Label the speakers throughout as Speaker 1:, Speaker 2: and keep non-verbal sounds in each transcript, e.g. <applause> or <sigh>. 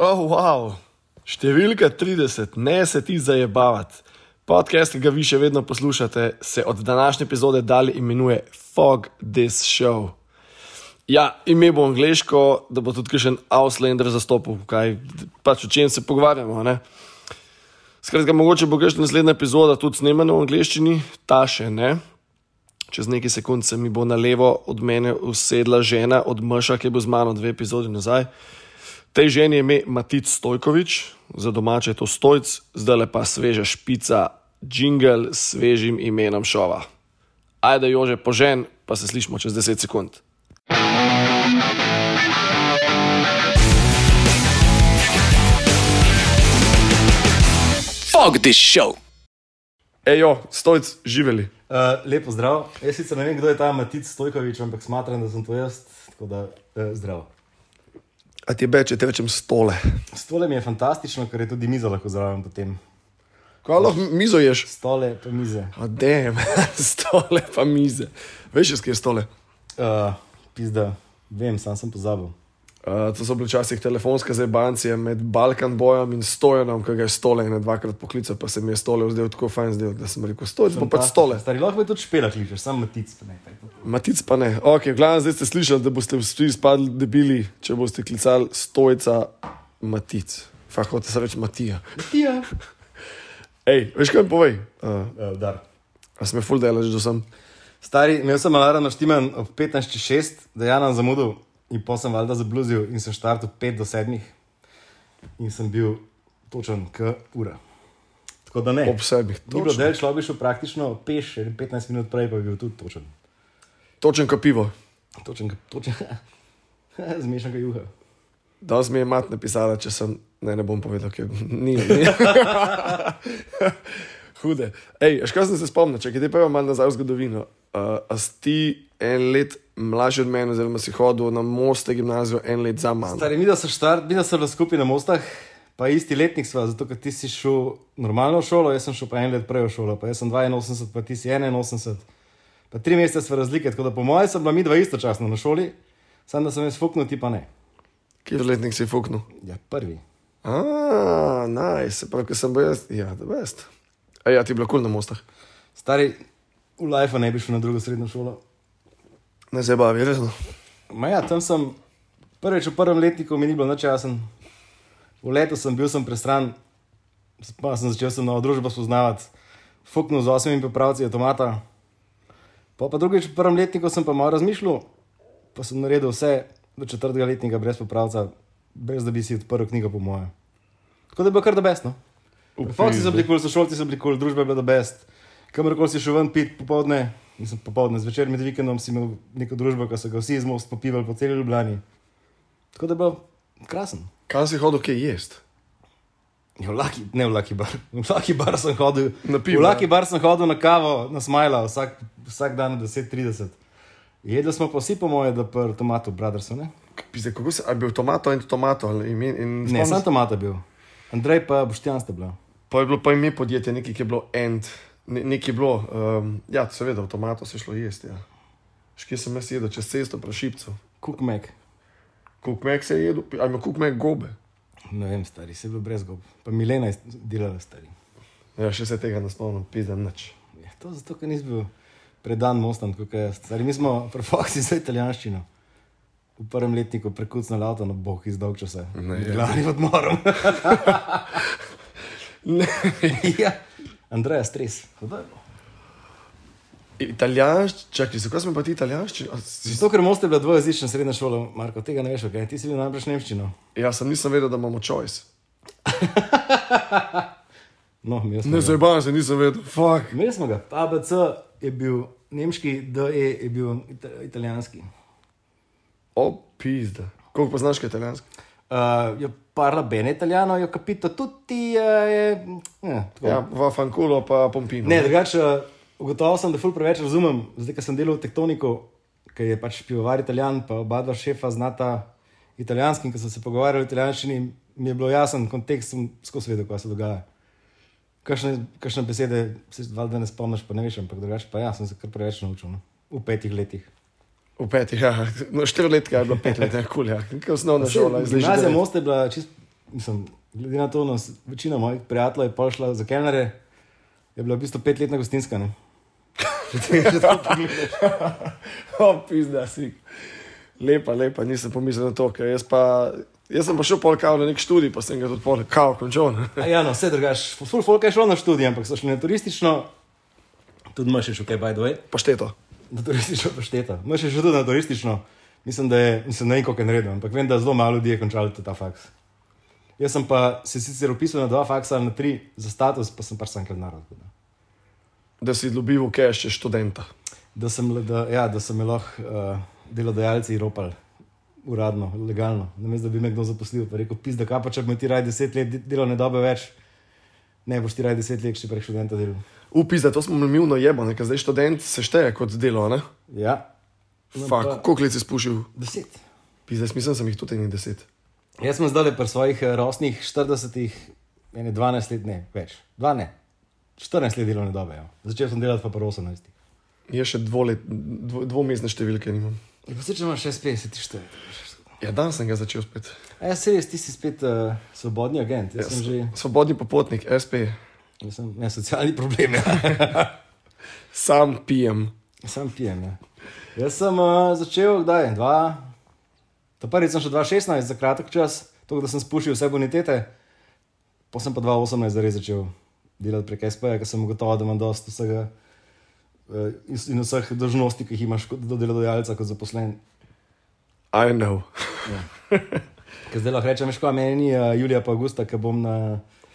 Speaker 1: Oh, wow, številka 30, ne se ti zajebavati. Podcast, ki ga vi še vedno poslušate, se od današnje epizode dalje imenuje Fog This Show. Ja, ime bo angliško, da bo tudi kakšen Auslander zastopal, kaj pač o čem se pogovarjamo. Ne? Skratka, mogoče bo kakšna naslednja epizoda tudi snemana v angliščini, ta še ne. Čez nekaj sekund se mi bo na levo od mene usedla žena od Mša, ki je bil z mano dve epizodi nazaj. Tej ženi je ime Matic Stojkovič, za domače je to Stojc, zdaj le pa sveža špica, jingle s svežim imenom šova. Ajde, Jože, požen, pa se slišmo čez 10 sekund.
Speaker 2: Fuck this show.
Speaker 1: Ejo, Stojc, živeli.
Speaker 3: Uh, lepo zdrav. Jaz sicer ne vem, kdo je ta Matic Stojkovič, ampak smatram, da sem to jaz, tako da uh, zdrav.
Speaker 1: A ti beče, te rečem stole.
Speaker 3: Stole mi je fantastično, ker je tudi miza lahko zraven potem.
Speaker 1: Kaj lahko mizo ješ?
Speaker 3: Stole pa mize.
Speaker 1: Adem, <laughs> stole pa mize. Veš, iz kje stole?
Speaker 3: Uh, pizda, vem, sam sem pozabil.
Speaker 1: Uh, to so bile včasih telefonske zebancije med Balkan bojem in stojenom, ki ga je stole in dvakrat poklical, pa se mi je stole vzdel tako fajn zdel, da sem rekel, stoj, pa pač stole.
Speaker 3: Stari lahko je tudi špela kličeš, sam Matic pa ne. pa je to.
Speaker 1: Matic pa ne. Ok, glavno zdaj ste slišali, da boste vsi spadli debeli, če boste klicali stojca Matic. Fah, hoče se reči Matija.
Speaker 3: Ja.
Speaker 1: Ej, veš kaj mi povej? Uh,
Speaker 3: Uh, udar.
Speaker 1: a sem ful delal že do sem.
Speaker 3: Stari, imel sem alarm naštiman ob 15.06, da je nam zamudil in pa sem valjda zabluzil in sem štartil 5 do 7 in sem bil točen k ura. Tako da ne.
Speaker 1: Ob sedmih,
Speaker 3: Ni bilo
Speaker 1: točno.
Speaker 3: del, človek bi šel praktično peš, še 15 minut prej pa bi bil tudi točen.
Speaker 1: Točen kot pivo.
Speaker 3: Točen, kot- točen. <laughs> Zmešan ga juha.
Speaker 1: Danes mi je mat napisala, če sem. Ne, ne bom povedal, ker ni. ni. Hude. Ej, še kaj sem se spomnil, če ti pa imam malo nazaj v zgodovino. Uh, a si ti en let mlajši od mene, oziroma si hodil na Moste gimnazijo en let za mano.
Speaker 3: Stari, mi da so štart, mi da so bili skupaj na mostah, pa isti letnik sva, zato ker ti si šel normalno v šolo, jaz sem šel pa en let prej v šolo, pa jaz sem 82, pa ti si 81. Pa tri mesece sva razlike, tako da po mojem sem bila mi dva istočasno na šoli, samo da sem jaz fuknil, ti pa ne.
Speaker 1: Kjer letnik si fuknil?
Speaker 3: Ja, prvi.
Speaker 1: Ah, naj, nice. se pravi, ker sem bil jaz, ja, da vest. A ja, ti je bilo kul na mostah.
Speaker 3: Stari, v life ne bi šel na drugo srednjo šolo.
Speaker 1: Ne se bavi, resno.
Speaker 3: Ma ja, tam sem prvič v prvem letniku, mi ni bilo nič jasen. V letu sem bil sem prestran, pa sem začel sem novo družbo spoznavati, fuknil z osmimi popravci avtomata. Pa, pa drugič v prvem letniku sem pa malo razmišljal, pa sem naredil vse do četrtega letnika brez popravca, brez da bi si odprl knjigo, po moje. Tako da je bilo kar no. dobesno. Fokci so bili kul, sošolci so bili kul, družba je bila dobest. Kamorkoli si šel ven pit popovdne, nisem popovdne, zvečer med vikendom si imel neko družbo, ki so ga vsi iz most popivali po celi Ljubljani. Tako da je bilo krasno.
Speaker 1: Kaj si hodil, kaj jesti?
Speaker 3: Ja, v Lucky, ne v Lucky bar. V Lucky bar sem hodil
Speaker 1: Na pivo, ja.
Speaker 3: V Lucky
Speaker 1: ne?
Speaker 3: bar sem hodil na kavo, na smajla, vsak, vsak dan 10:30. Jedli smo pa vsi, po moje, da prvo tomato, brothers, ne?
Speaker 1: Pizde, kako se, a je bil tomato in tomato ali ime? In
Speaker 3: Ne,
Speaker 1: spomnim
Speaker 3: sam
Speaker 1: se-
Speaker 3: tomato bil. Andrej pa Boštjan sta bila.
Speaker 1: Pa je bilo pa ime podjetja, nekaj ki je bilo end, ne, nekaj je bilo. Um, ja, seveda, avtomato se je šlo jesti. Ja. Škje sem jaz jedel, čez cesto, prašipcev.
Speaker 3: Kukmek.
Speaker 1: Kukmek se je jedel, pi- ali ima kukmek gobe.
Speaker 3: Ne vem, stari, se je bil brez gob. Pa Milena je delala stari.
Speaker 1: Ja, še se tega ne spomnim, pizem nič.
Speaker 3: Ja, to zato, ker nisem bil predan mostom, kot jaz. Stari, mi smo prvoksi za italijanščino. V prvem letniku prekucnil avto, no boh, izdolčil se. Glavni odmorom.
Speaker 1: Ne.
Speaker 3: <laughs>
Speaker 1: <laughs>
Speaker 3: ja. Andreja, stres. Dodajmo.
Speaker 1: Italijanščina, čakaj, zakaj smo pa ti italijanščina? A, si-
Speaker 3: Zato, ker most je bila dvojezična srednja šola, Marko, tega ne veš, kaj ti si bil najbrž nemščino.
Speaker 1: Ja, sem nisem vedel, da imamo choice.
Speaker 3: No, mi smo.
Speaker 1: Ne,
Speaker 3: ga.
Speaker 1: zajban se nisem vedel, fuck.
Speaker 3: Imeli smo ga. ABC je bil nemški, DE je bil ita- italijanski.
Speaker 1: O, pizda. Koliko poznaš kaj italijansko?
Speaker 3: Uh, jo parla bene italiano, jo capito tutti. Uh, je,
Speaker 1: Ja, v Fankulo pa Pompino.
Speaker 3: Ne, drugače, eh, ugotovil sem, da ful preveč razumem. Zdaj, ker sem delal v tektoniko, ki je pač pivovar italijan, pa oba dva šefa znata italijanski, in ko sem se pogovarjal o italijanščini, mi je bilo jasen kontekst, sem skozi vedel, kaj se dogaja. Kakšne, kakšne besede se valjda ne spomniš, pa ne veš, ampak drugače pa ja, sem se kar preveč naučil no. v petih letih.
Speaker 1: V petih, ja. No, štiri letka je bilo pet let, ja, kul, ja. Kaj osnovna šola,
Speaker 3: Gimnazija
Speaker 1: devet.
Speaker 3: Most je bila čist mislim, glede na to, no, s- večina mojih prijateljev je pol šla za kelnere, je bila v bistvu petletna gostinska. no. Ne?
Speaker 1: <laughs> O, pizda si. Lepa, lepa, nisem pomislil na to, ker jaz pa. Jaz sem pa šel pol kao na nek študij, pa sem ga tudi pol kao končal. ne. <laughs>
Speaker 3: A Ja, no, vse drugače. Full folk je šlo na študij, ampak so šli na turistično, tudi imaš še kaj, by the way.
Speaker 1: Pošteto.
Speaker 3: Na turistično pošteta. No, še šel tudi na turistično. Mislim, da je, mislim, ne vem, koliko je naredil, ampak vem, da zelo malo ljudi je končalo ta faks. Jaz sem pa se sicer upisal na dva faksa, ali na tri za status, pa sem pač sam kladnar. tako da.
Speaker 1: Da si dobil v cache še študenta.
Speaker 3: Da sem, le- da, ja, da sem me lahko uh, delodajalci ropali. Uradno, legalno, namesto da bi me kdo zaposlil, pa rekel, pizda, kaj pa če bi mi ti raj deset let de- delovne dobe več, ne boš ti raj deset let še prek študenta delal.
Speaker 1: Upis, da to smo mlmilno jebo, nekaj zdaj študent se šteje kot delo, ne?
Speaker 3: Ja, No, pa-
Speaker 1: Fak, koliko let si spušil?
Speaker 3: deset.
Speaker 1: Pizda, jaz mislim, da sem jih tudi nekaj deset.
Speaker 3: Jaz sem zdaj pri svojih eh, rosnih 40, ne 12 let, ne več. 12, ne. 14 let delovne dobe. Jo. Začel sem delati pa pri 18.
Speaker 1: Jaz še dvolet, dvo, dvomestne številke nimam.
Speaker 3: Ja, pa se če imaš 50, 54.
Speaker 1: Ja, dan sem ga začel spet.
Speaker 3: Ja, se res, ti si spet uh, svobodni agent. Jaz sem že
Speaker 1: Svobodni popotnik, SP.
Speaker 3: jaz sem, ne, socialni problem. Ja.
Speaker 1: Sam pijem.
Speaker 3: Sam pijem. Ja. Jaz sem uh, začel, kdaj? Dva, ta prvi sem še 2016 za kratek čas, tako da sem spušil vse bonitete, pa sem pa 2018 zares začel delati prek SP, ker sem gotovo, da imam dosta vsega eh, in, in vseh dožnosti, ki jih imaš kot do delodajalca, kot zaposlen.
Speaker 1: I know. <laughs>
Speaker 3: Ker zdaj lahko rečem, škoda meni, uh, Julija pa Augusta, ker bom na,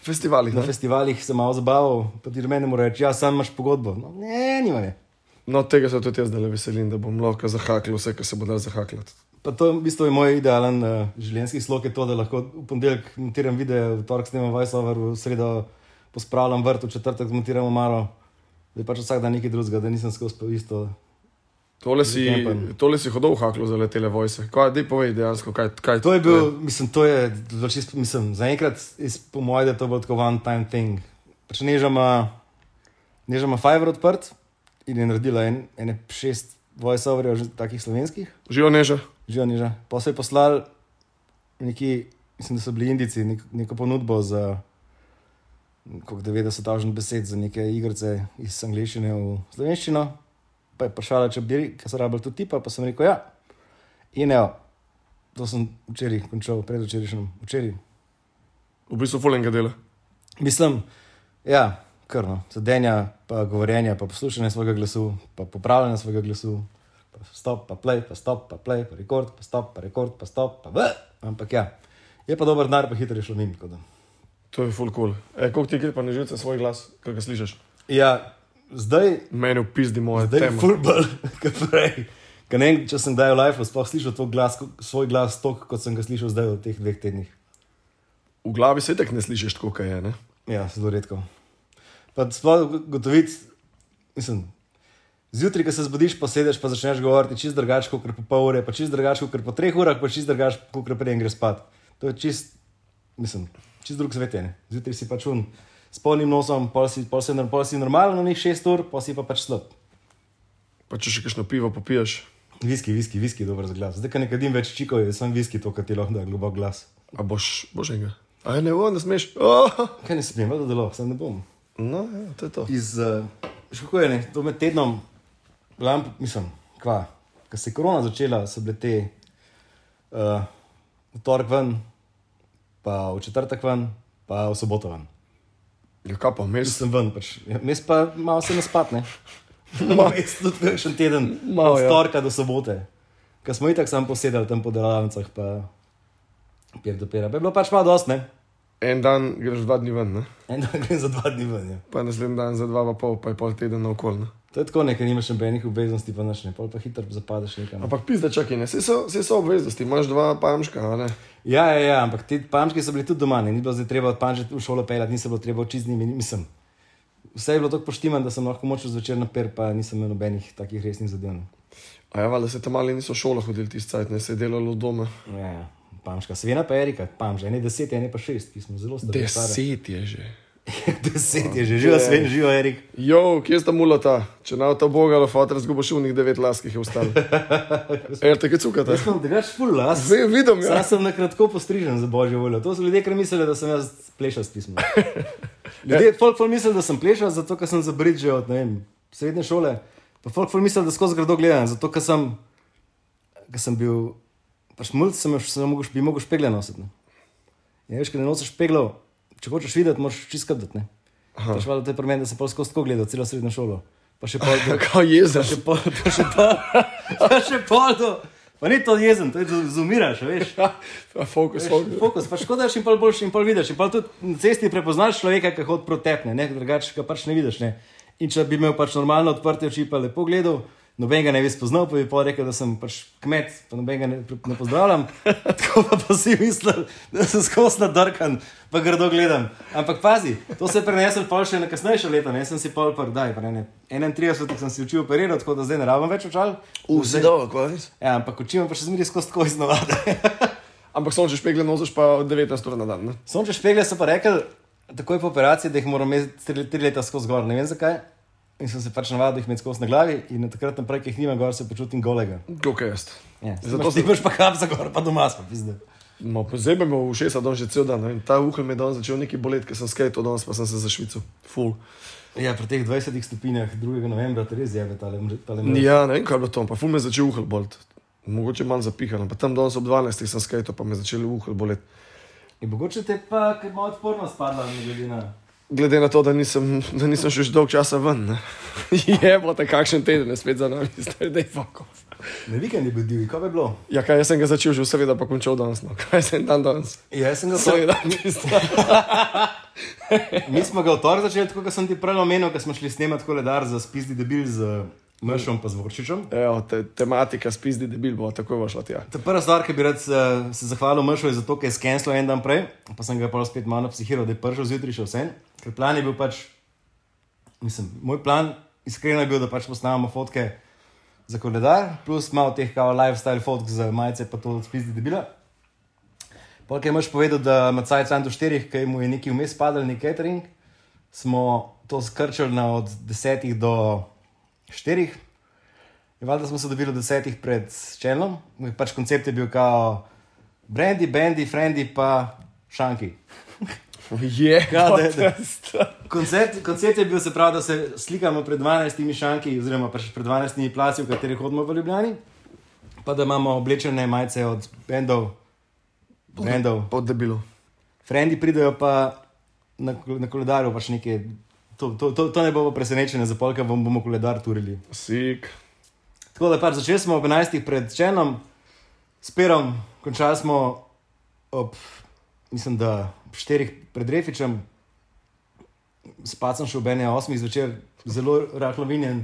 Speaker 1: Festivali.
Speaker 3: na festivalih se malo zabaval, pa ti meni mora reči, ja, sam imaš pogodbo. No, ne, nima je.
Speaker 1: No, tega se tudi jaz zdaj veselim, da bom lahko zahakal vse, kar se bo dal zahaklati.
Speaker 3: Pa to je v bistvu je moj idealen uh, življenjski slog, je to, da lahko v ponedeljek montiram video, v torek snemam voiceover, v sredo pospravljam vrt, v četrtek montiramo malo, da je pač vsak dan nekaj drugega, da nisem skozi po isto.
Speaker 1: Tole si,
Speaker 3: Zakempam.
Speaker 1: tole si hodil v haklu za letele vojse. Kaj, dej povej dejansko, kaj, kaj
Speaker 3: To je bil, mislim, to je, bilo čisto- mislim, zaenkrat, iz- po mojem, da je to bilo tako one time thing. Pač nežama, nežama Fiverr odprt in je naredila en, ene šest voiceoverjev, že takih slovenskih.
Speaker 1: Živo neža.
Speaker 3: Živijo niža. Pa so jih poslali neki, mislim, da so bili Indijci, nek, neko ponudbo za okrog 90.000 besed za neke igrice iz angleščine v slovenščino. Pa je vprašala, če bi, ker so rabili tudi tipa, pa sem rekel ja. In evo, to sem včeraj končal, predvčerajšnjem, včeraj.
Speaker 1: V bistvu fulenga dela.
Speaker 3: Mislim, ja, krno, sedenja, pa govorjenja, pa poslušanje svojega glasu, pa popravljanje svojega glasu, pa stop, pa play, pa stop, pa play, pa rekord, pa stop, pa rekord, pa stop, pa v. Ampak ja, je pa dober denar, pa hitro je šlo mimo. tako da.
Speaker 1: To je full cool. E, koliko ti gre pa na živce svoj glas, kaj ga slišiš?
Speaker 3: Ja, zdaj,
Speaker 1: Meni upizdi moje
Speaker 3: zdaj je
Speaker 1: teme.
Speaker 3: fulbol, <laughs> kot prej. Ker ne vem, če sem kdaj v lifeu sploh slišal to glas, ko- svoj glas tok, kot sem ga slišal zdaj v teh dveh tednih.
Speaker 1: V glavi se tek ne slišiš tako, kaj je. Ne?
Speaker 3: Ja, zelo redko. Pa sploh gotoviti, mislim. Zjutraj, ko se zbudiš, pa sedeš, pa začneš govoriti čist drugače, kot po pol ure, pa čist drugače, kot po treh urah, pa čist drugače, kot preden greš spat. To je čist, mislim, čist drug svet. je, ne. Zjutraj si pač un, s polnim nosom, pol si, pol si, nor- pol si normalen, na njih šest ur, pa si pa pač slab.
Speaker 1: Pa če še kakšno pivo popiješ,
Speaker 3: Viski, viski, viski, je dober za glas. Zdaj, ko ne kadim več čikov, je samo viski to, kar ti lahko da globok glas.
Speaker 1: a boš, boš enega. A ne, o, ne smeš. Oh!
Speaker 3: Kaj ne smem, da delo, sem ne bom.
Speaker 1: No, ja, to je to.
Speaker 3: iz, uh, kako je, ne, to med tednom, lamp, mislim, kva, ko se je korona začela, so bile te uh, v torek ven, pa v četrtek ven, pa v soboto ven.
Speaker 1: Ja, kaj pa vmes?
Speaker 3: Sem ven, pač. Ja, Mes pa malo se naspatne.
Speaker 1: <laughs> Ma-
Speaker 3: Mes <laughs> tudi še teden,
Speaker 1: Malo,
Speaker 3: od
Speaker 1: ja.
Speaker 3: torka do sobote. Ker smo itak sam posedali tam po delavnicah, pa pier do pera. Pa je bilo pač malo dosti, ne?
Speaker 1: En dan greš dva dni ven, ne?
Speaker 3: En dan <laughs> grem za dva dni ven, ja.
Speaker 1: pa naslednji dan za dva pa pol, pa je pol teden naokol. Ne?
Speaker 3: To je tako, ne, ker nimaš nobenih obveznosti, pa naš ne, pol pa hitro zapadeš nekam.
Speaker 1: Ampak pizda čakaj, ne, vse so, vse so obveznosti, imaš dva pamška, a ne.
Speaker 3: Ja, ja, ja, ampak te pančke so bili tudi doma, ne? ni bilo zdaj treba pančiti v šolo pelati, nisem bilo treba učiti z njimi, nisem. Vse je bilo tako poštiman, da sem lahko močil zvečer na per, pa nisem imel nobenih takih resnih zadev. ne.
Speaker 1: A ja, valjda se tam mali niso v šolo hodili tisti cajt, ne se je delalo doma.
Speaker 3: Ja, ja. Pamška, seveda pa Erika, pamža, ne deset, ne pa šest, ki smo zelo stari. stare.
Speaker 1: Deset je že.
Speaker 3: <laughs> Deset je že, živo svet, živo Erik.
Speaker 1: Jo, kje sta mulata? Če na ta boga, lafotar zgubo še unih devet las, ki jih je <laughs> ostalo. Er, te kecukate.
Speaker 3: Jaz sem drugač full las.
Speaker 1: Vem, vidim,
Speaker 3: Sam
Speaker 1: ja.
Speaker 3: sem na kratko postrižen za božjo voljo. To so ljudje, ki mislijo, da sem jaz plešal s pismom. Ljudje, folk folk mislijo, da sem plešal, zato ker sem za bridge od ne vem, srednje šole. Pa folk folk mislijo, da skozi grado gledam, zato ker sem, ker sem bil, pač mulj sem, še- sem mogel, bi mogel špegle nositi. Ne? Ja, veš, ker ne nosiš špeglov, če hočeš videti, moraš čiskati. Pač valjda to je pri meni, da sem pol skozi tako gledal, celo srednjo šolo. Pa še pol,
Speaker 1: Kako jeza. <laughs>
Speaker 3: še pol, pa še pol, pa še pol, do, pa ni to jezen, to je z- zumiraš, a veš.
Speaker 1: Fokus, fokus.
Speaker 3: Fokus, pa škodaš in pol boljš in pol vidiš. In pol tudi na cesti prepoznaš človeka, ki hod protepne, ne, drugače ga pač ne vidiš. Ne. In če bi imel pač normalno odprte oči, pa lepo gledal, noben ga ne bi spoznal, pa bi pa rekel, da sem pač kmet, pa noben ga ne, ne pozdravljam. <laughs> Tako pa, pa si mislil, da sem skozi nadrkan, pa grdo gledam. Ampak pazi, to se je prenesel pol še na kasnejša leta, ne sem si pol par, daj, pa ne, ne. 31 sem si učil operiral, tako da zdaj ne rabim več očal.
Speaker 1: Vse dobro, kvaris.
Speaker 3: Ja, ampak učim pa še zmeraj skozi tako iznovade.
Speaker 1: Ampak sonče špegle nosiš pa 19 ur na dan. Ne?
Speaker 3: Sončne špegle so pa rekli, takoj po operaciji, da jih moram imeti tri, tri leta skozi gor, ne vem zakaj. In sem se pač navadil, da jih imam skozi na glavi, in od takrat naprej, ki jih nimam gor, se počutim golega.
Speaker 1: Kako jaz.
Speaker 3: Ja,
Speaker 1: Zato
Speaker 3: Zato si boš pa kap za gor, pa doma smo, pizde.
Speaker 1: No, pozebe me v ušesa danes že cel dan. ne, in Ta uhelj mi je danes začel neki boleti, ker sem skajal danes, pa sem se zašvical. Full.
Speaker 3: Ja, pri teh 20 stopinjah 2. novembra te res jebe tale mre- tale mrež.
Speaker 1: Ja, ne vem, kaj je bilo to, pa ful me je začel uhelj boleti. Mogoče malo zapihano, pa tam danes ob 12 sem skajal, pa me je začel uhelj boleti.
Speaker 3: In mogoče te pa ker malo odpornost padla, ne glede na.
Speaker 1: Glede na to, da nisem, da nisem še že dolg časa ven, ne. <laughs> je bilo tako kakšen teden, je spet za nami, <laughs> zdaj da je fakov.
Speaker 3: Na vikend je bil divji, kaj bi bilo?
Speaker 1: Ja, kaj jaz sem ga začel že v sredo, pa končal danes, no. <laughs> kaj sem dan danes.
Speaker 3: Ja, jaz sem ga
Speaker 1: Sorry, <laughs>
Speaker 3: sam.
Speaker 1: da, pizda.
Speaker 3: Mi smo ga v torek začeli, tako kot sem ti prej omenil, ko smo šli snemati koledar za spizdi debil z mršom pa z vorčičem.
Speaker 1: Evo, Ja, te, tematika spizdi debil bo takoj bo šla tja.
Speaker 3: Ta prva stvar, ki bi rad eh, se zahvalil Mršu, je zato, ker je skenslo en dan prej, pa sem ga pa spet malo psihiral, da je prišel zjutraj še vse. Ker plan je bil pač, mislim, moj plan iskreno je bil, da pač posnamemo fotke za koledar, plus malo teh kao lifestyle fotk za majice, pa to spizdi debila. Polk je mož povedal, da ima cajt sam do štirih, ker mu je neki vmes padal, neki catering, smo to skrčili na od desetih do štirih. In valjda smo se dobili od desetih pred čelom, pač koncept je bil kao Brandy, Bandy, Friendy pa Šanki.
Speaker 1: Je,
Speaker 3: Ja,
Speaker 1: kot
Speaker 3: da, da.
Speaker 1: sta.
Speaker 3: Koncept, koncept je bil, se pravi, da se slikamo pred 12 šanki, oziroma pač pred 12 placi, v katerih hodimo v Ljubljani, pa da imamo oblečene majice od bendov, brendov.
Speaker 1: Pod debilo.
Speaker 3: Frendi pridejo pa na, kol- na koledarju, pač nekaj. To, to, to, to ne bo presenečenje, za polka vam bomo koledar turili.
Speaker 1: Sik.
Speaker 3: Tako da pač začeli smo ob 11. pred Čenom, s Perom, končali smo ob, mislim, da ob 4. pred Refičem, spat sem še ob 1.8. zvečer, zelo rahlovinjen.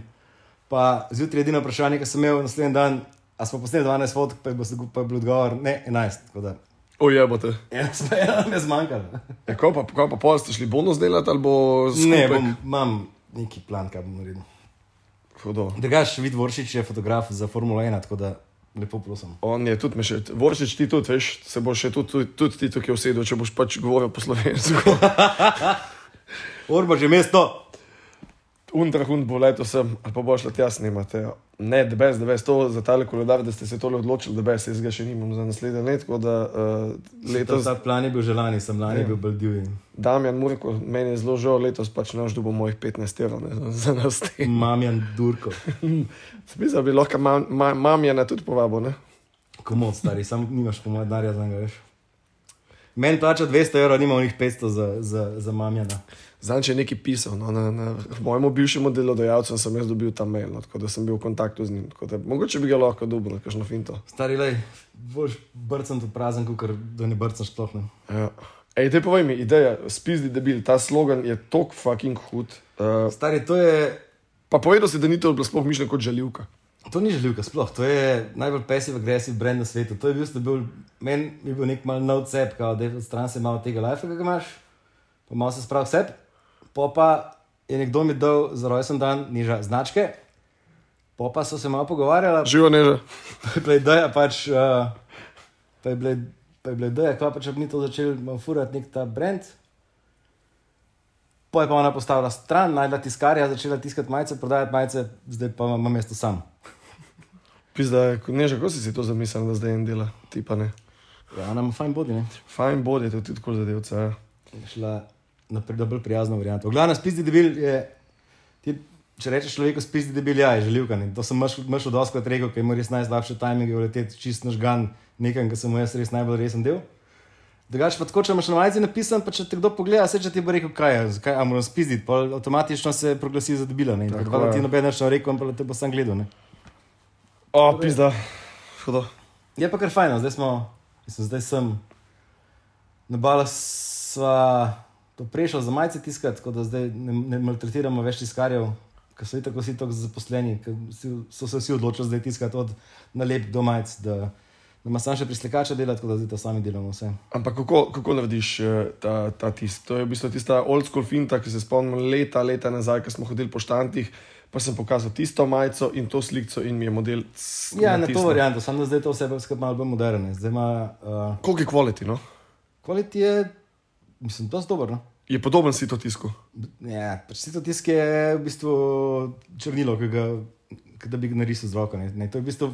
Speaker 3: Pa zjutraj je edino vprašanje, ki sem imel naslednji dan, a smo posneli 12 fotk, pa je bil, pa je bil odgovor ne 11. Tako da
Speaker 1: Ojebote.
Speaker 3: <laughs> ena smo Ja, ena mi je zmanjkala.
Speaker 1: Ja, ko pa, ko pa pol ste šli bonus delati ali bo
Speaker 3: Ne,
Speaker 1: skupaj?
Speaker 3: bom, imam neki plan, kaj bom naredil.
Speaker 1: Hudo.
Speaker 3: Drugač, Vid Voršič je fotograf za Formulo 1, tako da lepo prosim.
Speaker 1: On je tudi mešal. Voršič ti tudi, veš, se boš še tudi, tudi, tudi ti tukaj usedel, če boš pač govoril po slovensko. <laughs>
Speaker 3: Orba že mesto!
Speaker 1: Undrahund bo leto sem, ali pa boš letja snimate. ja. Ne, debes, debes, to za tale koledar, da ste se tole odločili, debes, jaz ga še nimam za naslednje leto, tako da uh, letos
Speaker 3: Letos... Ta plan je bil že lani, sem lani ja. bil bolj divji.
Speaker 1: Damjan Murko, meni je zelo žal, letos pač ne ždubo mojih 15 evrov ne, za- za nas.
Speaker 3: Mamjan Durko,
Speaker 1: Spisa bi lahko mam, mam, mamjena tudi povabo, ne?
Speaker 3: komod stari, sam nimaš komod denarja za njega, veš. Meni plača 200 evrov, nimam njih 500 za, za, za mamjana.
Speaker 1: Zanj je nekaj pisal, no, na, na mojemu bivšemu delodajalcu sem jaz dobil ta mail, no, tako da sem bil v kontaktu z njim. tako Da, mogoče bi ga lahko dobil na kakšno finto.
Speaker 3: Stari, lej, boš brcen tu prazen, kot da ne brcaš sploh ne.
Speaker 1: Ja. Ej, te povej mi, ideja, spizdi debil, ta slogan je tok fucking hud. Uh,
Speaker 3: Stari, to je,
Speaker 1: pa povedal si, da ni to bilo sploh mišljeno kot žaljivka.
Speaker 3: to ni želivka sploh, to je najbolj pasiv-agresiv brand na svetu. To je bil, bil meni je bil nek mal nov cep, kao, da je stran se malo tega life, ki ga imaš, pa malo se sprav vse. Po pa je nekdo mi dal za rojsten dan niža značke, po pa so se malo pogovarjala, <laughs>
Speaker 1: Živo ne že.
Speaker 3: Pa je bila ideja, pač, uh, pa je bila, pač pa je bila ideja, kva pa če bi mi to začeli malo furati nek ta brand. Poj pa je ona postavila stran, najdla tiskarja, začela tiskati majice, prodajati majice, zdaj pa imam mesto sam.
Speaker 1: Pizda, ne, že kako si si to zamislil, da zdaj en dela, ti pa ne.
Speaker 3: Ja, ona ima fajn bodi, ne?
Speaker 1: Fajn bod je to tudi tako zadevca. Ja.
Speaker 3: Je Šla na pri- na bolj prijazno varianto. Glavna spizdi debil je, ti, če rečeš človeku spizdi debil, ja, je želivka. Ne? To sem mrš od oskrat rekel, ker ima res najslabše tajminge, leteti čist nažgan, nekam, ki sem mu jaz res najbolj resen del. Drugač pa tako, če imaš na majici napisan, pa če ti kdo pogleda, se če ti bo rekel, kaj je, zakaj a moram spizditi, pa avtomatično se proglasi za debila. Ne? Tako,
Speaker 1: Tako,
Speaker 3: tako,
Speaker 1: ja.
Speaker 3: ti noben več ne rekel, ampak te bo sam gledal. Ne?
Speaker 1: O, pizda, hudo.
Speaker 3: Je pa kar fajn, no, zdaj smo, mislim, zdaj sem na balu, sva to prešla za majice tiskati, tako da zdaj ne, ne maltretiramo več tiskarjev, ker so tako vsi tako zaposleni, ker vsi, so se vsi odločili zdaj tiskati od nalep do majic, da, da ima sam še prislikača delati, tako da zdaj to sami delamo vse.
Speaker 1: Ampak kako, kako narediš eh, ta, ta tisk? To je v bistvu tista old school finta, ki se spomnim leta, leta nazaj, ko smo hodili po štantih, pa sem pokazal tisto majico in to sliko in mi je model. c-
Speaker 3: Ja, na to
Speaker 1: natisnil.
Speaker 3: varianto, samo da zdaj to vse skupaj malo bolj moderno. je. Zdaj ima uh,
Speaker 1: Koliko je kvaliteti, no?
Speaker 3: kvalitet je, mislim, dosti dobro. No?
Speaker 1: Je podoben si to tisku.
Speaker 3: Ja, pač sito tisk je v bistvu črnilo, ki ga, ki da bi ga narisal z roko. Ne? Ne, to, je v bistvu,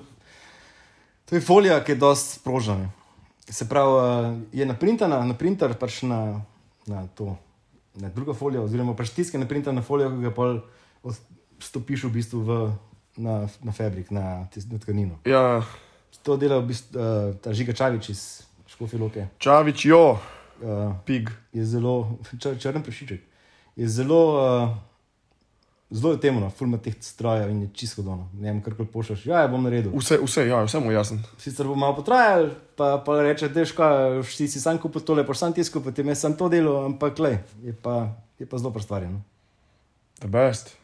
Speaker 3: to je folija, ki je dosti sprožena. ne. Se pravi, eh, je naprintana, naprintar pač na, na to, na drugo folijo, oziroma pač tisk je naprintan na folijo, ki ga pol stopiš v bistvu v, na, na fabrik, na, tis- na tkanino.
Speaker 1: Ja,
Speaker 3: To dela v bistvu uh, ta žiga Čavič iz Škofje Loke.
Speaker 1: Čavič, jo,
Speaker 3: Uh,
Speaker 1: pig.
Speaker 3: je zelo, čr, črn prešiček, je zelo, uh, zelo je temno, fulma teh strojev in je čisto dono. Ne vem, karkoli pošlješ, ja, ja, bom naredil.
Speaker 1: Vse, vse, ja, vse mu je jasno.
Speaker 3: Sicer bo malo potrajal, pa, pa reče, da je škoda, vsi si sam kupil tole, pa sam tiskal, potem jaz sem to delal, ampak le, je pa, je pa zelo prstvarjen.
Speaker 1: The best.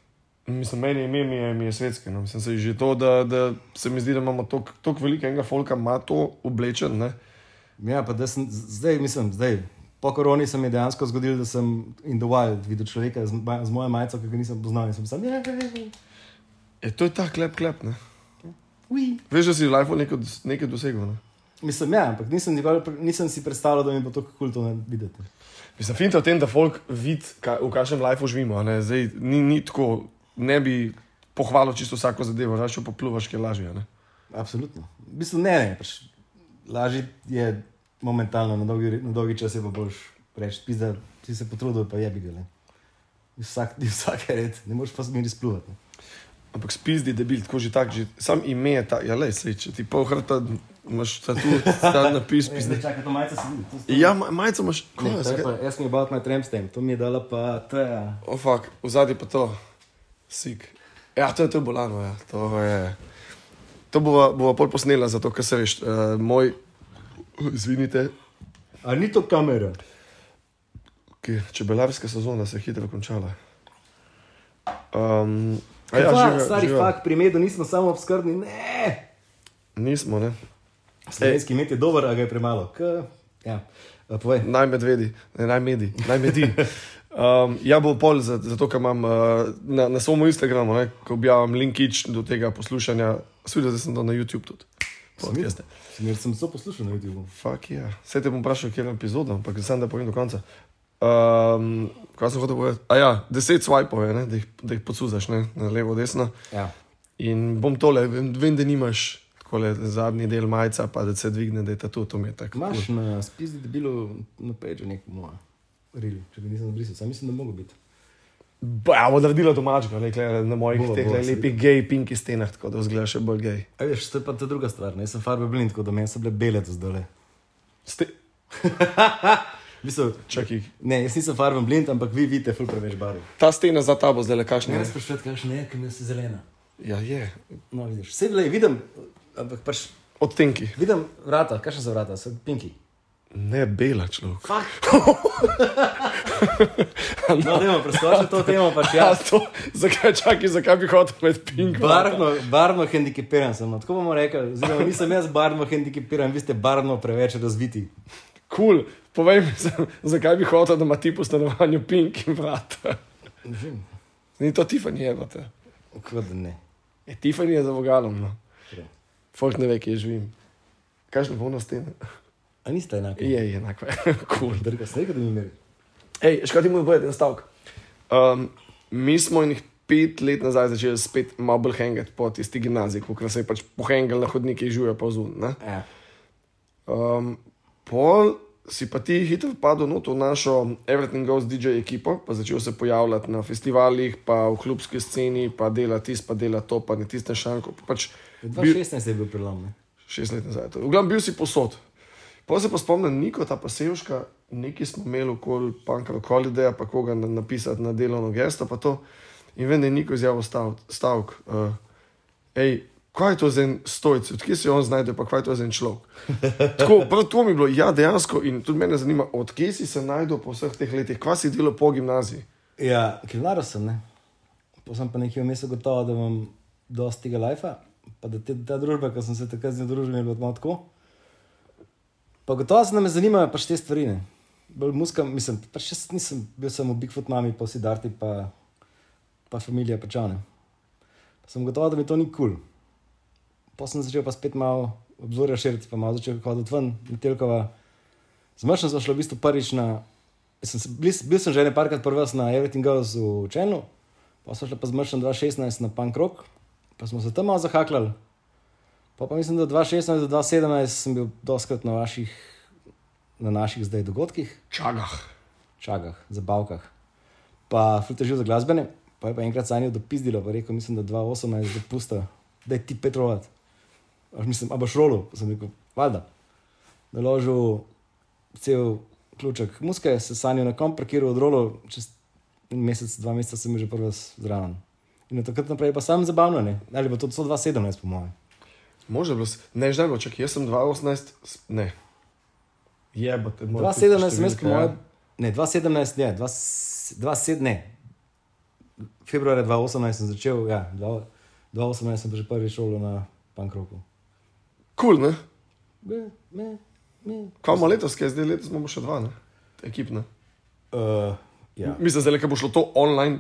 Speaker 1: Mislim, meni ime mi je, mi je svetski. No. Mislim, se že to, da, da se mi zdi, da imamo tok- toliko velikega folka, ima to oblečen. Ne?
Speaker 3: Ja, pa da sem, z- zdaj mislim, zdaj. Po koroni se mi je dejansko zgodilo, da sem in the wild videl človeka z, ma- z mojo majico, ki ga nisem poznal in sem sam, ja, ja, ja,
Speaker 1: E, to je ta klep, klep. Ne?
Speaker 3: ja.
Speaker 1: Veš, da si v lifeu nekaj, dos- nekaj dosegel. no? Ne?
Speaker 3: Mislim, ja, ampak nisem, nikoli pre- nisem si predstavljal, da mi bo tako kulto videti.
Speaker 1: Mislim, finta v tem, da folk vidi, ka, v kakšnem lifeu živimo. a ne. Zdaj, ni, ni tako, ne bi pohvalil čisto vsako zadevo, raje če popluvaš, ki je lažje. a ne.
Speaker 3: Absolutno. V bistvu ne, ne. Pač, lažje je momentalno, na dolgi, na dolgi čas je pa boš reči, pizda, si se potrudil, pa je bi ga. Vsak, vsak je red, ne moreš pa smeri spluvati. ne.
Speaker 1: Ampak spizdi, debil, tako že tak, že sam ime je ta, ja, le, sej, če ti pol hrta, imaš ta tu, ta napis, spizdi.
Speaker 3: čakaj, to majica se vidi. to se-
Speaker 1: Ja, ma- majico imaš,
Speaker 3: Ne,
Speaker 1: kaj
Speaker 3: to je
Speaker 1: je?
Speaker 3: pa, jaz sem jih na trem s tem, to mi je dala pa ta.
Speaker 1: O, fuk, v zadnji pa to, sik. Ja, to je, to je bolano, ja, to je. To bova, bova pol posnela, zato ker se veš, uh, moj, izvinite,
Speaker 3: A ni to kamera?
Speaker 1: ki čebelarska sezona se je hitro končala. Um, a
Speaker 3: Ja,
Speaker 1: živijo,
Speaker 3: ja, stari
Speaker 1: živijo.
Speaker 3: fakt, pri medu nismo samo obskrbni, ne.
Speaker 1: Nismo, ne.
Speaker 3: Slovenski med je dober, a ga je premalo. K, ja. A, povej.
Speaker 1: Naj medvedi, ne, naj medi, naj medi. Um, ja, bo pol, za- zato ker imam uh, na, na svojem Instagramu, ne, ko objavim linkič do tega poslušanja, seveda da sem to na YouTube tudi. Podcaste.
Speaker 3: Smer sem to poslušal na YouTubu.
Speaker 1: Fak je. Yeah. Vse te bom vprašal, kje je epizoda, ampak sem da povem do konca. Um, kaj sem hotel povedati? A ja, deset swipov je, ne, da jih, da jih podsuzaš, ne, na levo, desno.
Speaker 3: Ja.
Speaker 1: In bom tole, vem, vem da nimaš takole zadnji del majca, pa da se dvigne, da je ta tu, to mi je tako.
Speaker 3: Imaš na spizdi debilu na peču nek moj. Rili, če bi nisem zbrisal, sam mislim, da mogo biti.
Speaker 1: Ba, Ja, bo naredila domačega, le, le, na mojih
Speaker 3: Bova,
Speaker 1: teh
Speaker 3: bova,
Speaker 1: le, lepih gej, pinki stenah, tako da zgleda še bolj gej.
Speaker 3: A veš, to je pa ta druga stvar, ne? Jaz sem farbe blind, tako da meni so bile bele do zdaj.
Speaker 1: Ste...
Speaker 3: Mislim,
Speaker 1: Čakaj,
Speaker 3: ne, jaz nisem farben blind, ampak vi vidite ful preveč barv.
Speaker 1: ta stena za tabo zdaj le kašne.
Speaker 3: Ne, sprašujem, kakšne je, ker nas je zelena.
Speaker 1: Ja, je.
Speaker 3: No, vidiš, vse le vidim, ampak pač
Speaker 1: Odtenki.
Speaker 3: vidim vrata, kakšne so vrata, so pinki.
Speaker 1: Ne, bela človek.
Speaker 3: Fak. no, dajmo, preskočimo to temo, pač
Speaker 1: Ja,
Speaker 3: <laughs> jaz.
Speaker 1: to, zakaj čakaj, zakaj bi hotel med pink?
Speaker 3: Barvno, barvno hendikepiran sem, no, tako bomo rekli. Oziroma, nisem jaz barvno hendikepiran, vi ste barvno preveč razviti.
Speaker 1: Kul, cool. povej mi, za- zakaj bi hotel, da ima ti po stanovanju pink in vrata. Ni to Tiffany, je pa te.
Speaker 3: Kot da ne.
Speaker 1: E, Tiffany je za vogalom, no.
Speaker 3: Prav.
Speaker 1: Folk ne ve, kje živim. Kakšna bolna stena?
Speaker 3: A
Speaker 1: Ja.
Speaker 3: niste enaki?
Speaker 1: Je, je enako, <laughs> kul. Cool.
Speaker 3: Drga se nekaj, da mi meri.
Speaker 1: Hej, škati mu je povedati en stavek. Um, mi smo jih pet let nazaj začeli spet malo bolj hengati po tisti gimnaziji, ko se je pač pohengal na hodniki, živijo pa zunaj.
Speaker 3: Ja.
Speaker 1: Um, pol si pa ti hitro padel no, v našo Everything Goes DJ ekipo, pa začel se pojavljati na festivalih, pa v klubski sceni, pa dela tisto, pa dela to, pa ne tiste šanko. pa Pač bil,
Speaker 3: 2016 je bil prelom. ne?
Speaker 1: šest let nazaj. to. V glavnem bil si posod. Pa se pa spomnim, Niko, ta pa sevška, neki smo imeli okoli Pankra Holideja, pa koga na, napisati na delovno gesto, pa to. In vem, da je Niko izjavil stavk, stavk uh, hej, kaj je to za en stojc, odkje se on znajde, pa kaj je to za en človek. Tako, prav to mi je bilo, ja, dejansko, in tudi mene zanima, odkje si se najdel po vseh teh letih, kva si delal po gimnaziji.
Speaker 3: Ja, kilnaro sem, ne. Pa sem pa nekje vmes gotovo, da imam dosti tega lajfa, pa da te, ta družba, ki sem se takrat z njo družil, je bila malo tako. Pa gotovo se nam zanimajo pač te stvari, ne. Bolj muska, mislim, pač jaz nisem bil samo Bigfoot mami, pa vsi darti, pa, pa familija pačane. Pa sem gotovo, da mi to ni kul. Cool. Pa sem začel pa spet malo obzorja širiti, pa malo začel hoditi ven, Metelkova. Zmršen sem šel v bistvu prvič na. Sem, se- bil, bil sem že nekajkrat prvi na Everything Goes v Čenu, pa sem šel pa zmršen 2016 na Punk Rock, pa smo se tam malo zahaklali. Pa, pa mislim, da 2016 do 2017 sem bil doskrat na, vaših, na naših zdaj dogodkih,
Speaker 1: Čagah.
Speaker 3: čagah, zabavkah, pa frutežil za glasbene, pa je pa enkrat sanjal dopizdilo, pa rekel, mislim, da 2018 dopusta, da je ti petrovat. Až mislim, a boš rolo, sem rekel, valjda. Naložil cel ključek muske, se sanjal na kom, parkiral od rolo, čez en mesec, dva meseca sem bil že prvi zraven. In od takrat naprej je pa sam zabavno, ne? ali pa to 2017, po mojem.
Speaker 1: Možno je bilo, s- ne, že najbolj, čakaj, jaz sem 2018, s- ne. Jebate, moj.
Speaker 3: 2017 sem jaz, po mojem, ne, 2017 je, 2017 ne. Februarja 2018 sem začel, ja, dva- 2018 sem pa že prvi šolo na Pankroku.
Speaker 1: Kul, cool, ne?
Speaker 3: Ne, ne, ne.
Speaker 1: Kaj imamo letos, kaj zdaj letos imamo še dva, ne? ekipna.
Speaker 3: Uh, ja.
Speaker 1: Mislim, da bo šlo to online,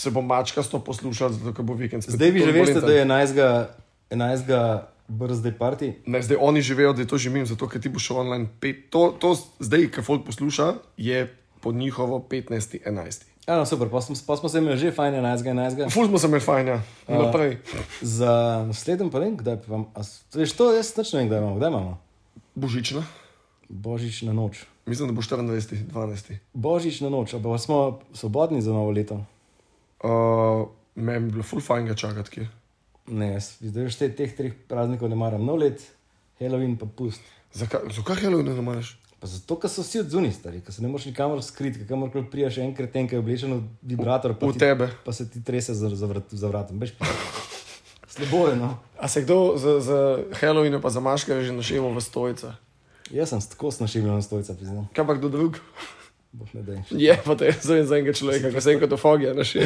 Speaker 1: se bo mačka sto poslušala, zato ker bo vikend. spet
Speaker 3: Zdaj vi že veste,
Speaker 1: turbulenten.
Speaker 3: da je 11. 11. brzdej parti.
Speaker 1: Ne, zdaj oni živijo, da je to že mim, zato ker ti bo šel online. Pet, to, to zdaj, ki folk posluša, je po njihovo 15.11.
Speaker 3: Ja, no, super, pa smo, pa smo se imeli že fajn 11. 11.
Speaker 1: Ful smo se imeli fajn, ja. naprej.
Speaker 3: Za naslednjem pa ne vem, kdaj pa vam. a s- Veš to, jaz nič ne vem, kdaj imamo. Kdaj imamo?
Speaker 1: Božična,
Speaker 3: Božič na noč.
Speaker 1: mislim, da bo 24.12.
Speaker 3: Božič na noč, a pa smo svobodni za novo leto.
Speaker 1: Uh, Meni bi bilo ful fajn ga čakati, kje.
Speaker 3: Ne, jaz zdaj že te- teh treh praznikov ne maram, no let, Halloween pa pust.
Speaker 1: Zakaj, zakaj Halloween ne moreš?
Speaker 3: Pa zato, ker so vsi odzuni stari, ker se ne moreš nikamor skriti, ker kamor priješ enkrat en, ki je oblečen v vibrator, pa,
Speaker 1: V
Speaker 3: ti,
Speaker 1: tebe.
Speaker 3: pa se ti trese za, za, vrat, za vratom. Bež, <laughs> slabo je, no.
Speaker 1: A se kdo za, za Halloween pa za maške že našemo v stojca?
Speaker 3: Jaz sem tako snašil na stojca, priznam.
Speaker 1: Kaj pa kdo drug?
Speaker 3: Bog ne dej.
Speaker 1: <laughs> Je pa te zdaj za enega človeka, ko se enkrat ofogija <laughs> našel.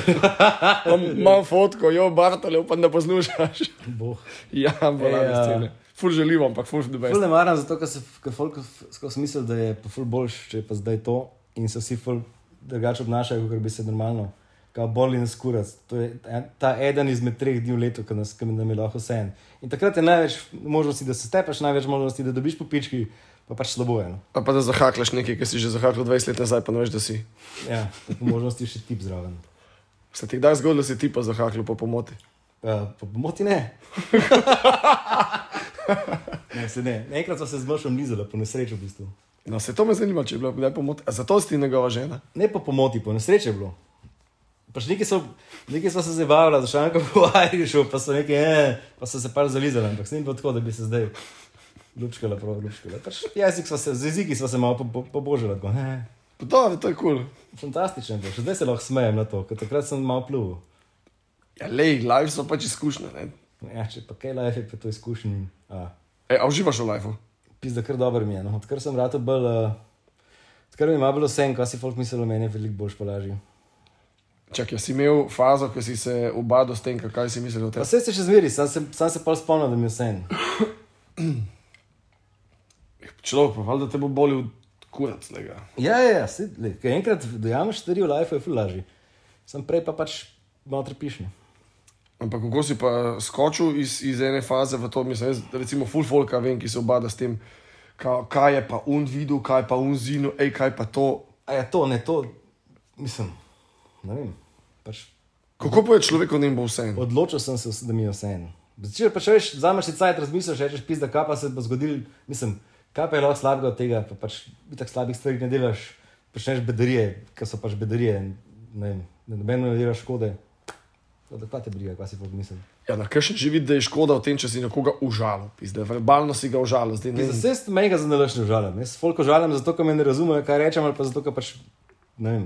Speaker 1: Imam fotko, jo bartale, upam, da poslušaš. <laughs>
Speaker 3: Bog.
Speaker 1: ja, bolane
Speaker 3: Ej, a-
Speaker 1: scene. Ful želivo, ampak ful the best.
Speaker 3: Ful ne maram, zato ker se ker folk skozi misli, da je pa ful boljš, če je pa zdaj to in se vsi ful drugače obnašajo, kot bi se normalno. Kao bolj in skurac. To je en- ta eden izmed treh dni v letu, ki nas- ki nam je lahko vse en. In takrat je največ možnosti, da se stepaš, največ možnosti, da dobiš popički, pa pač slabo je. No.
Speaker 1: A pa da zahaklaš nekaj, ki si že zahakal 20 let nazaj, pa ne veš, da si.
Speaker 3: Ja, pa po možnosti še tip zraven.
Speaker 1: Se ti kdaj zgodilo, da si ti pa zahakal po pomoti?
Speaker 3: Uh, pa pomoti ne. <laughs> ne, se ne. Enkrat smo se z možem nizali, po nesreči v bistvu.
Speaker 1: No, se to me zanima, če je bila kdaj pomoti. A zato si ti njegova žena?
Speaker 3: Ne pa pomoti, po nesreče je bilo. Pač nekaj so, nekaj so se zabavali, za šanko <laughs> po Irišu, pa so nekaj, eh, pa so se par zalizali, ampak se ni bilo tako, da bi se zdaj ljubčkala, prav ljubčkala. Pač jezik sva se, z jeziki smo se malo po- po- pobožali. tako, eh.
Speaker 1: Pa to, to je kul. Cool.
Speaker 3: Fantastičen je bil, še zdaj se lahko smejem na to, ker takrat sem malo plul.
Speaker 1: Ja, lej, live so pač izkušnje. Ne?
Speaker 3: Ja, če pa kaj life je, pa to izkušnji.
Speaker 1: E, a uživaš v live?
Speaker 3: Pizda, kar dobro mi je. No. Odkar sem rado bolj, uh, odkar mi je malo bilo vse, kaj si folk mislil o meni, je veliko boljš polažil.
Speaker 1: Čakaj, si imel fazo, ko si se ubadal s tem, kaj si mislil o tem?
Speaker 3: Pa vse se še zmeri, sam se, sam se pa spomnim, da mi je vse en.
Speaker 1: Človek, pa valjda te bo bolil kurac, lega.
Speaker 3: Ja, ja, ja se, le, kaj enkrat dojameš stvari v lifeu, je ful lažje. Sem prej pa pač malo trpišni.
Speaker 1: Ampak kako si pa skočil iz, iz ene faze v to, mislim, jaz, recimo, full folka vem, ki se obada s tem, ka, kaj je pa un videl, kaj je pa un zinu, ej, kaj pa to.
Speaker 3: A ja, to ne, to, mislim, ne vem. Pač
Speaker 1: Kako pa je človeku, da jim bo vse?
Speaker 3: odločil sem se, da mi je vse en. Če pač veš, vzameš si cajt, razmisliš, rečeš, pizda, kaj pa se bo zgodil, mislim, kaj pa je lahko slabega od tega, pa pač tako slabih stvari ne delaš, počneš bedarije, ker so pač bedarije, ne vem, da nobeno ne delaš škode. Tako Da, kaj te briga, kaj si pa mislim.
Speaker 1: Ja, na kršen že vidi, da je škoda v tem, če si nekoga užalil, pizde, verbalno si ga užalil, zdaj ne.
Speaker 3: Zdaj se mega za nalaš ne žalim, jaz folko žalim zato, ker me ne razumejo, kaj rečem, ali pa zato, ker pač, ne vem,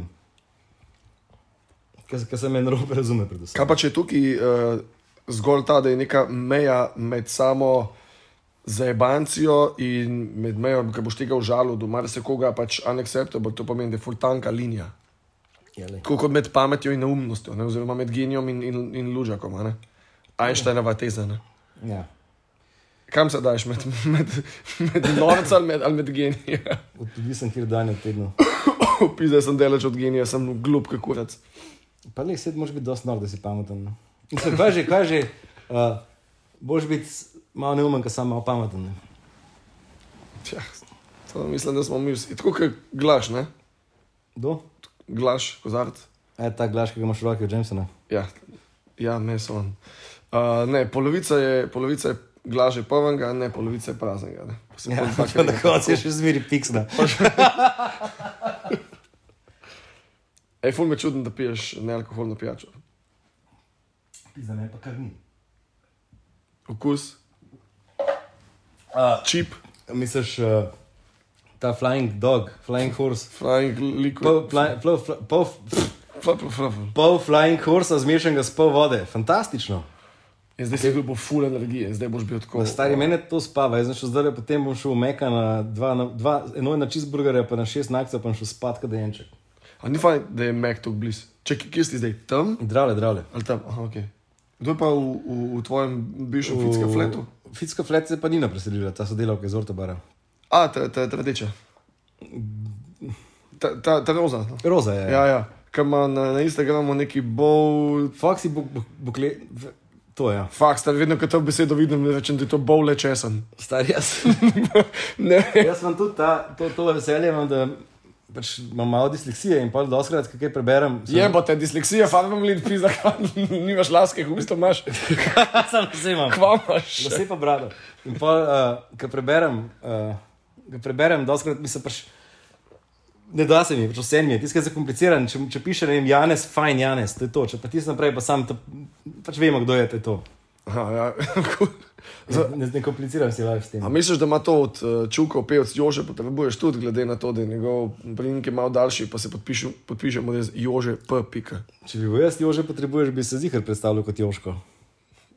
Speaker 3: ker, ker se me narobe razume predvsem.
Speaker 1: Kaj pa če je tukaj uh, zgolj ta, da je neka meja med samo zajebancijo in med mejo, ki boš tega užalil, do marsikoga pač unacceptable, to pomeni, da je fultanka linija.
Speaker 3: Jeli.
Speaker 1: Tako kot med pametjo in neumnostjo, ne? oziroma med genijem in, in, in lužakom. a ne. Einsteinova teza. Ne?
Speaker 3: Ja.
Speaker 1: Kam se daš med, med, med norcem ali med, ali med genijem? <coughs>
Speaker 3: Odvisen, kjer dan je v tednu.
Speaker 1: Pisal sem delač od genija, sem glup kot kurac.
Speaker 3: Pa le, sedaj moraš biti dosti nor, da si pameten. no. Mislim, kaj že, kaj že, uh, boš biti malo neumen, ker sem malo pameten. ne.
Speaker 1: Ja, to mislim, da smo mi vsi. Tako kot glaš, ne?
Speaker 3: Kdo?
Speaker 1: Glaš, kozarc.
Speaker 3: E, ta glas, ki ga imaš v roki od Jamesona.
Speaker 1: Ja, ja meso on. Uh, ne, polovica je, polovica je glaže polnega, ne, polovica je praznega. Ne. Pa
Speaker 3: Ja,
Speaker 1: se
Speaker 3: <laughs>
Speaker 1: pol dvakrat-
Speaker 3: na koncu je še zmeri piksna.
Speaker 1: Ej, ful me čudim, da piješ nealkoholno pijačo.
Speaker 3: Za me pa kar ni.
Speaker 1: Okus,
Speaker 3: Uh,
Speaker 1: čip,
Speaker 3: misliš, uh, ta flying dog, flying horse,
Speaker 1: flying liquid.
Speaker 3: pol, fly, pol, fl- pol, f-
Speaker 1: Fla, fla, fla, fla.
Speaker 3: pol flying horse, zmešan ga s pol vode. Fantastično.
Speaker 1: Ja, zdaj si bil bo ful energije, zdaj boš bil tako.
Speaker 3: Pa Stari, meni to spava, jaz sem šel zdaj, potem bom šel v Meka na dva, na dva, eno je na čizburgerja, pa na šest nakcev, pa bom šel spat, kaj dejanček.
Speaker 1: A ni fajn, da je Mac tako blizu. Če kje si zdaj tam
Speaker 3: Drale, drale.
Speaker 1: ali tam, aha, ok. Kdo je pa v, v, v tvojem bivšem fikskem fletu?
Speaker 3: Fitska flet se pa ni napreselila, ta sodelavka iz Ortobara.
Speaker 1: A, ta, ta, ta rdeča. Ta, ta, ta roza. No.
Speaker 3: Roza je.
Speaker 1: Ja, ja. Kaj ima na, na Instagramu neki bolj.
Speaker 3: Foxy bo, bo, bo kle... v- To je. Ja.
Speaker 1: Faks, da vedno, ko to besedo vidim, rečem, da je to bolj lečesen.
Speaker 3: Star jaz.
Speaker 1: <laughs> ne.
Speaker 3: jaz sem tudi ta, to, to veselje, imam, da pač imam malo disleksije in pol doskrat, kaj preberem.
Speaker 1: Je pa te disleksija, fakt vam ljudi pisa, <laughs> nimaš laske, v bistvu imaš,
Speaker 3: sem vse imam.
Speaker 1: kvamaš.
Speaker 3: Vse pa brado. In pol, uh, ko preberem, uh, ko preberem, doskrat mi se pač. Ne da se mi, pač vse mi je, tiskaj je zakompliciran. Če, če piše, ne vem, Janes, fajn Janes, to je to. Če pa tisti naprej, pa sam, to, pač vemo, kdo je to. je to.
Speaker 1: Aha, ja. <laughs> cool.
Speaker 3: Ne, ne kompliciram si life s tem.
Speaker 1: A misliš, da ima to od eh, Čukov, pevc Jože, potrebuješ tudi, glede na to, da je njegov primek malo daljši, pa se podpišem, podpišemo, da je Jože P. Pika.
Speaker 3: Če bi bil jaz Jože potrebuješ, bi se zihar predstavljal kot Joško.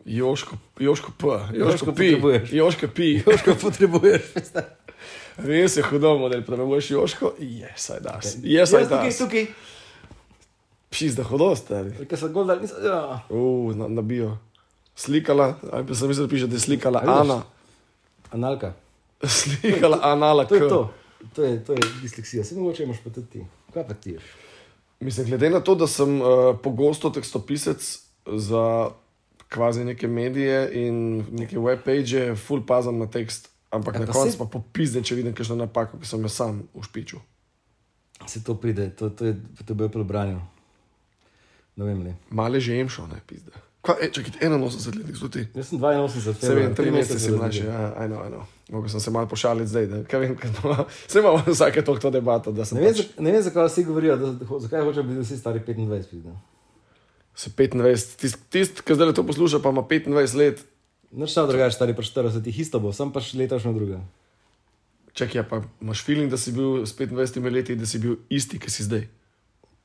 Speaker 1: Joško, Joško P, Joško P,
Speaker 3: Jožko potrebuješ.
Speaker 1: Joško P.
Speaker 3: Joško potrebuješ.
Speaker 1: Res je hudo, model, potrebuješ Joško, jesaj daš. Jesaj daš.
Speaker 3: tukaj.
Speaker 1: Pizda hudo, stari.
Speaker 3: Ker sem gol, da nisem. Ja.
Speaker 1: Uf, na, nabijo. Slikala, aj pa sem mislil, da piše, da je slikala
Speaker 3: vidiš?
Speaker 1: Ana. <laughs>
Speaker 3: Analka.
Speaker 1: Slikala Anala
Speaker 3: To je
Speaker 1: K.
Speaker 3: to. To je, to je disleksija. Se mogoče imaš pa tudi ti. Kaj pa ti?
Speaker 1: Mislim, glede na to, da sem uh, pogosto tekstopisec za kvazi neke medije in neke webpage, full pazam na tekst, ampak
Speaker 3: Ja,
Speaker 1: na
Speaker 3: pa
Speaker 1: koncu
Speaker 3: se-
Speaker 1: pa popizne, če vidim kakšno napako, ki sem jo sam ušpičil.
Speaker 3: Se to pride, to, to je potrebuje pri branju. Ne vem le.
Speaker 1: Male že jemšo, ne pizde. Kaj, e, čakaj, 81 let, kdo ti?
Speaker 3: Jaz sem 82,
Speaker 1: Se vem,
Speaker 3: februar,
Speaker 1: tri mesece si
Speaker 3: razlike.
Speaker 1: mlajši, ja, eno, eno. Mogoče sem se malo pošalil zdaj, da kaj vem, kaj <laughs> to. Se imamo vsake toliko to debato, da sem pač
Speaker 3: Ne vem, za- ne vem, zakaj vsi govorijo, da, da, ho- zakaj hočejo biti vsi stari 25. pizda.
Speaker 1: Se 25, tisti, tist, ki zdaj to posluša, pa ima 25 let,
Speaker 3: Nič ne drugače, stari pa 40, jih isto bo, sam pač letošnja druga.
Speaker 1: čekaj, ja, pa imaš feeling, da si bil s 25 leti, da si bil isti, ki si zdaj.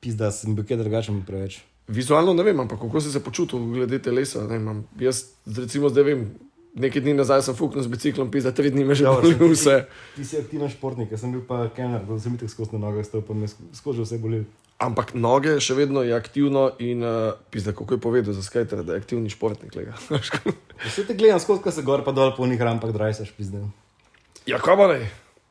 Speaker 3: Pizda, sem bil kaj drugačen preveč.
Speaker 1: Vizualno ne vem, ampak kako si se počutil glede telesa. Ne, imam, jaz recimo zdaj vem, nekaj dni nazaj sem fuknil z biciklom, pisa tri dni me že
Speaker 3: Dobro,
Speaker 1: boli
Speaker 3: sem-
Speaker 1: vse.
Speaker 3: Ti si aktiven športnik, jaz sem bil pa kenar, da sem jih tako skozi na nogah stal, pa me sk- skozi vse boli.
Speaker 1: Ampak noge še vedno je aktivno in uh, pisa, kako je povedal za skajter, da je aktivni športnik. <laughs> lega.
Speaker 3: Vse te gledam skozi, ko se gor pa dol po njih rampah drajsaš, pizda.
Speaker 1: ja, kama ne.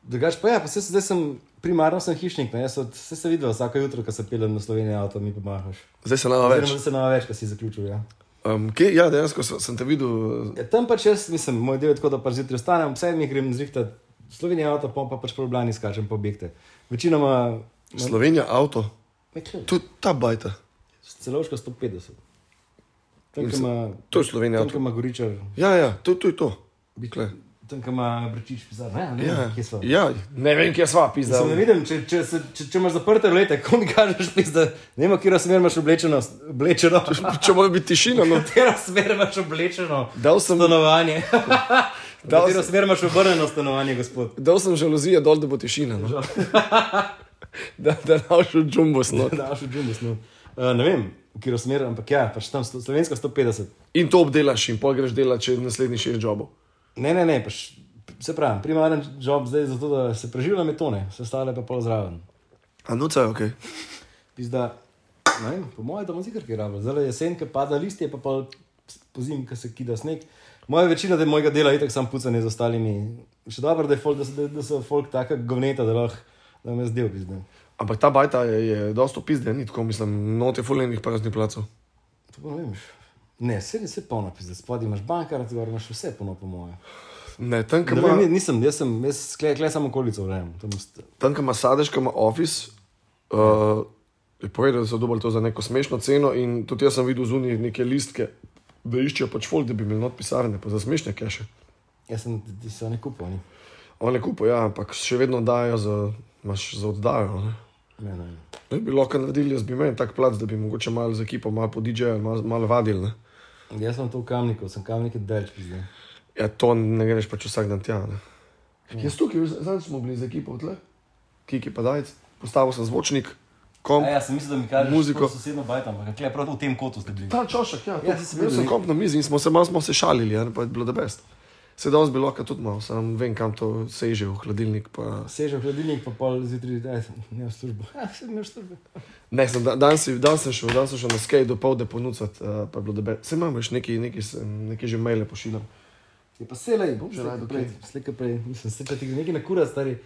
Speaker 3: Drugač pa ja, pa se zdaj sem, primarno sem hišnik, ne, jaz od, se se videl vsako jutro, ko se pelem na Slovenijo avto, mi pa mahaš.
Speaker 1: Zdaj se nama No, več.
Speaker 3: Oziroma, da se nama več, ko si zaključil, ja.
Speaker 1: Um, kje, ja, dejansko sem, sem te videl.
Speaker 3: ja. Tam pač jaz, mislim, moj del je tako, da pač zjutraj vstanem, ob sedmih grem zrihtat Slovenijo avto, pom pa pač po Ljubljani skačem po objekte. Večinoma,
Speaker 1: eh, Slovenija, avto,
Speaker 3: ne,
Speaker 1: tudi ta bajta.
Speaker 3: celoška 150. Tam, kjer ima,
Speaker 1: To je Slovenija.
Speaker 3: tam, kjer ima Goričar,
Speaker 1: Ja, ja, to, to je to. Bikle.
Speaker 3: tam, kjer ima Brečič, pisar, ne, ne,
Speaker 1: Ja,
Speaker 3: ja. kje smo.
Speaker 1: ja. Ne vem, kje smo, pizda.
Speaker 3: Sem ne vidim, če, če, se- če, če imaš zaprte <laughs> leta, ko mi kažeš, pizda, ne vem, kje smer imaš oblečeno, oblečeno,
Speaker 1: Če mora biti tišina, no.
Speaker 3: katero smer imaš oblečeno
Speaker 1: Dal sem,
Speaker 3: <laughs> stanovanje.
Speaker 1: Dal
Speaker 3: Katero smer imaš obrnjeno stanovanje, gospod.
Speaker 1: dal sem žalozije dol, da bo tišina. No. <laughs> Da, da naš v no. džumbo snot.
Speaker 3: Daš v džungli smo. Uh, ne vem, kje smer, ampak ja, pač tam sto- slovenska 150.
Speaker 1: In to obdelaš in pol greš delati še naslednji šest jobov.
Speaker 3: Ne, ne, ne, pač, se pravi, primaren job zdaj je zato, da se preživljam metone, vse ostale pa pol zraven.
Speaker 1: A nuca je ok.
Speaker 3: Pizda, ne vem, po mojem, da bom zikar kaj rabil. Zdaj je jesen, ki pada listje, pa pa pozim, ki se kida sneg. Moja večina de, mojega dela je tako sam pucanje z ostalimi. Še dobro, da, je folk, da, so, da, da so folk taka govneta, da lahko da me zdel pizda.
Speaker 1: Ampak ta bajta je, je dosto pizden, ni tako mislim, note fuljenih praznih placov.
Speaker 3: To pa ne vem. Ne, vse je vse polno pizda. Spodaj imaš bankar, zgor imaš vse polno po mojem.
Speaker 1: Ne, tam, kjer
Speaker 3: Ne vem,
Speaker 1: ima-
Speaker 3: ni- nisem, jaz sem, jaz klej, klej samo okolico vrem.
Speaker 1: tam, kjer ima sadež, ki ima office, uh, je povedal, da so dobili to za neko smešno ceno in tudi jaz sem videl zunaj neke listke, da iščejo pač folk, da bi imeli not pisarne, pa za smešne keše.
Speaker 3: Jaz sem, ti se ne kupil, ni.
Speaker 1: On je kupil, ja, ampak še vedno dajo za, imaš za oddajo. Ne?
Speaker 3: Ne, ne.
Speaker 1: Ne bi lahko naredili, jaz bi imel tak plac, da bi mogoče malo z ekipo, malo po DJ-ju, malo, malo vadil. Ne?
Speaker 3: Jaz sem to v kamniku, sem kamnik delč, pizda.
Speaker 1: Ja, to ne greš pač vsak dan tja. Ne? Jaz tukaj, zdaj smo bili z ekipo tle, kiki pa dajc, postavil sem zvočnik, komp.
Speaker 3: Ja, sem mislil, da mi kažeš
Speaker 1: Muziko.
Speaker 3: kot sosedno bajtam, ampak klej, prav v tem kotu ste bili.
Speaker 1: Ta čošek, ja, to,
Speaker 3: Ja,
Speaker 1: ja,
Speaker 3: saj sem
Speaker 1: bil sem
Speaker 3: videl.
Speaker 1: komp na mizi in smo se malo smo se šalili, ja, pa je bilo da best. Sedaj bi lahko tudi malo, sam vem, kam to seže v hladilnik. Pa...
Speaker 3: Seže v hladilnik, pa pol zjutraj, da sem imel službo. <laughs> Ja, sem imel službo.
Speaker 1: Ne, sem, da, dan, si, dan, sem šel, dan sem šel na skate do povdne ponucati, uh, pa je bilo da best. Se imam, veš, neki, neki, sem- neki že maile pošiljam.
Speaker 3: Je pa selej, bom
Speaker 1: že najdel
Speaker 3: prej. Slika prej, mislim, se pa ti gre nekaj na kura, stari.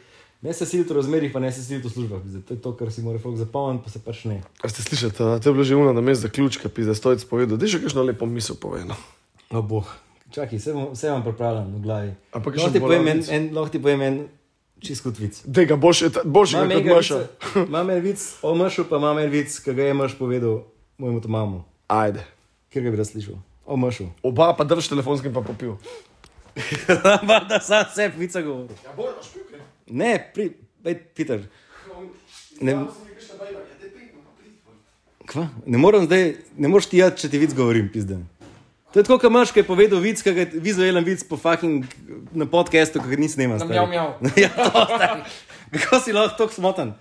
Speaker 3: Ne se siliti v razmerih, pa ne se siliti v službah. pizda. To je to, kar si mora folk zapomniti, pa se pač ne.
Speaker 1: A ste slišali, ta- to je bilo že uno na mestu zaključka, pizda, stojc povedal, da je še kakšno lepo misel <laughs> povedal.
Speaker 3: No, boh. Čakaj, vse, bom- vse vam pripravljam v glavi.
Speaker 1: Ampak je
Speaker 3: lahko
Speaker 1: še
Speaker 3: ti povem en,
Speaker 1: bolavnic.
Speaker 3: en, lahko ti povem en čist kot vic.
Speaker 1: Dega, boš, eh, boš,
Speaker 3: Imam
Speaker 1: kot
Speaker 3: enega
Speaker 1: maša.
Speaker 3: vica- Imam en vic o mršu, pa imam en vic, ki ga je mrš povedal mojemu tomamu,
Speaker 1: Ajde.
Speaker 3: ker ga bi rad slišal. O <laughs> mršu.
Speaker 1: Oba pa drž telefonskim pa popil.
Speaker 3: da sam sebi vica govoril.
Speaker 1: Ja, boš, boš pil, kaj?
Speaker 3: Ne, pri, bej, Peter. Ne, kva? Ne, moram zdaj, ne moreš ti jad, če ti vic govorim, pizden. To je tako, kot imaš, ki je povedal vic, ki ga je vizualen vic po fucking na podkastu, ki ga nisi snimal. stari.
Speaker 2: mjav, mjav.
Speaker 3: <laughs> ja, to stari. Kako si lahko tako smotan?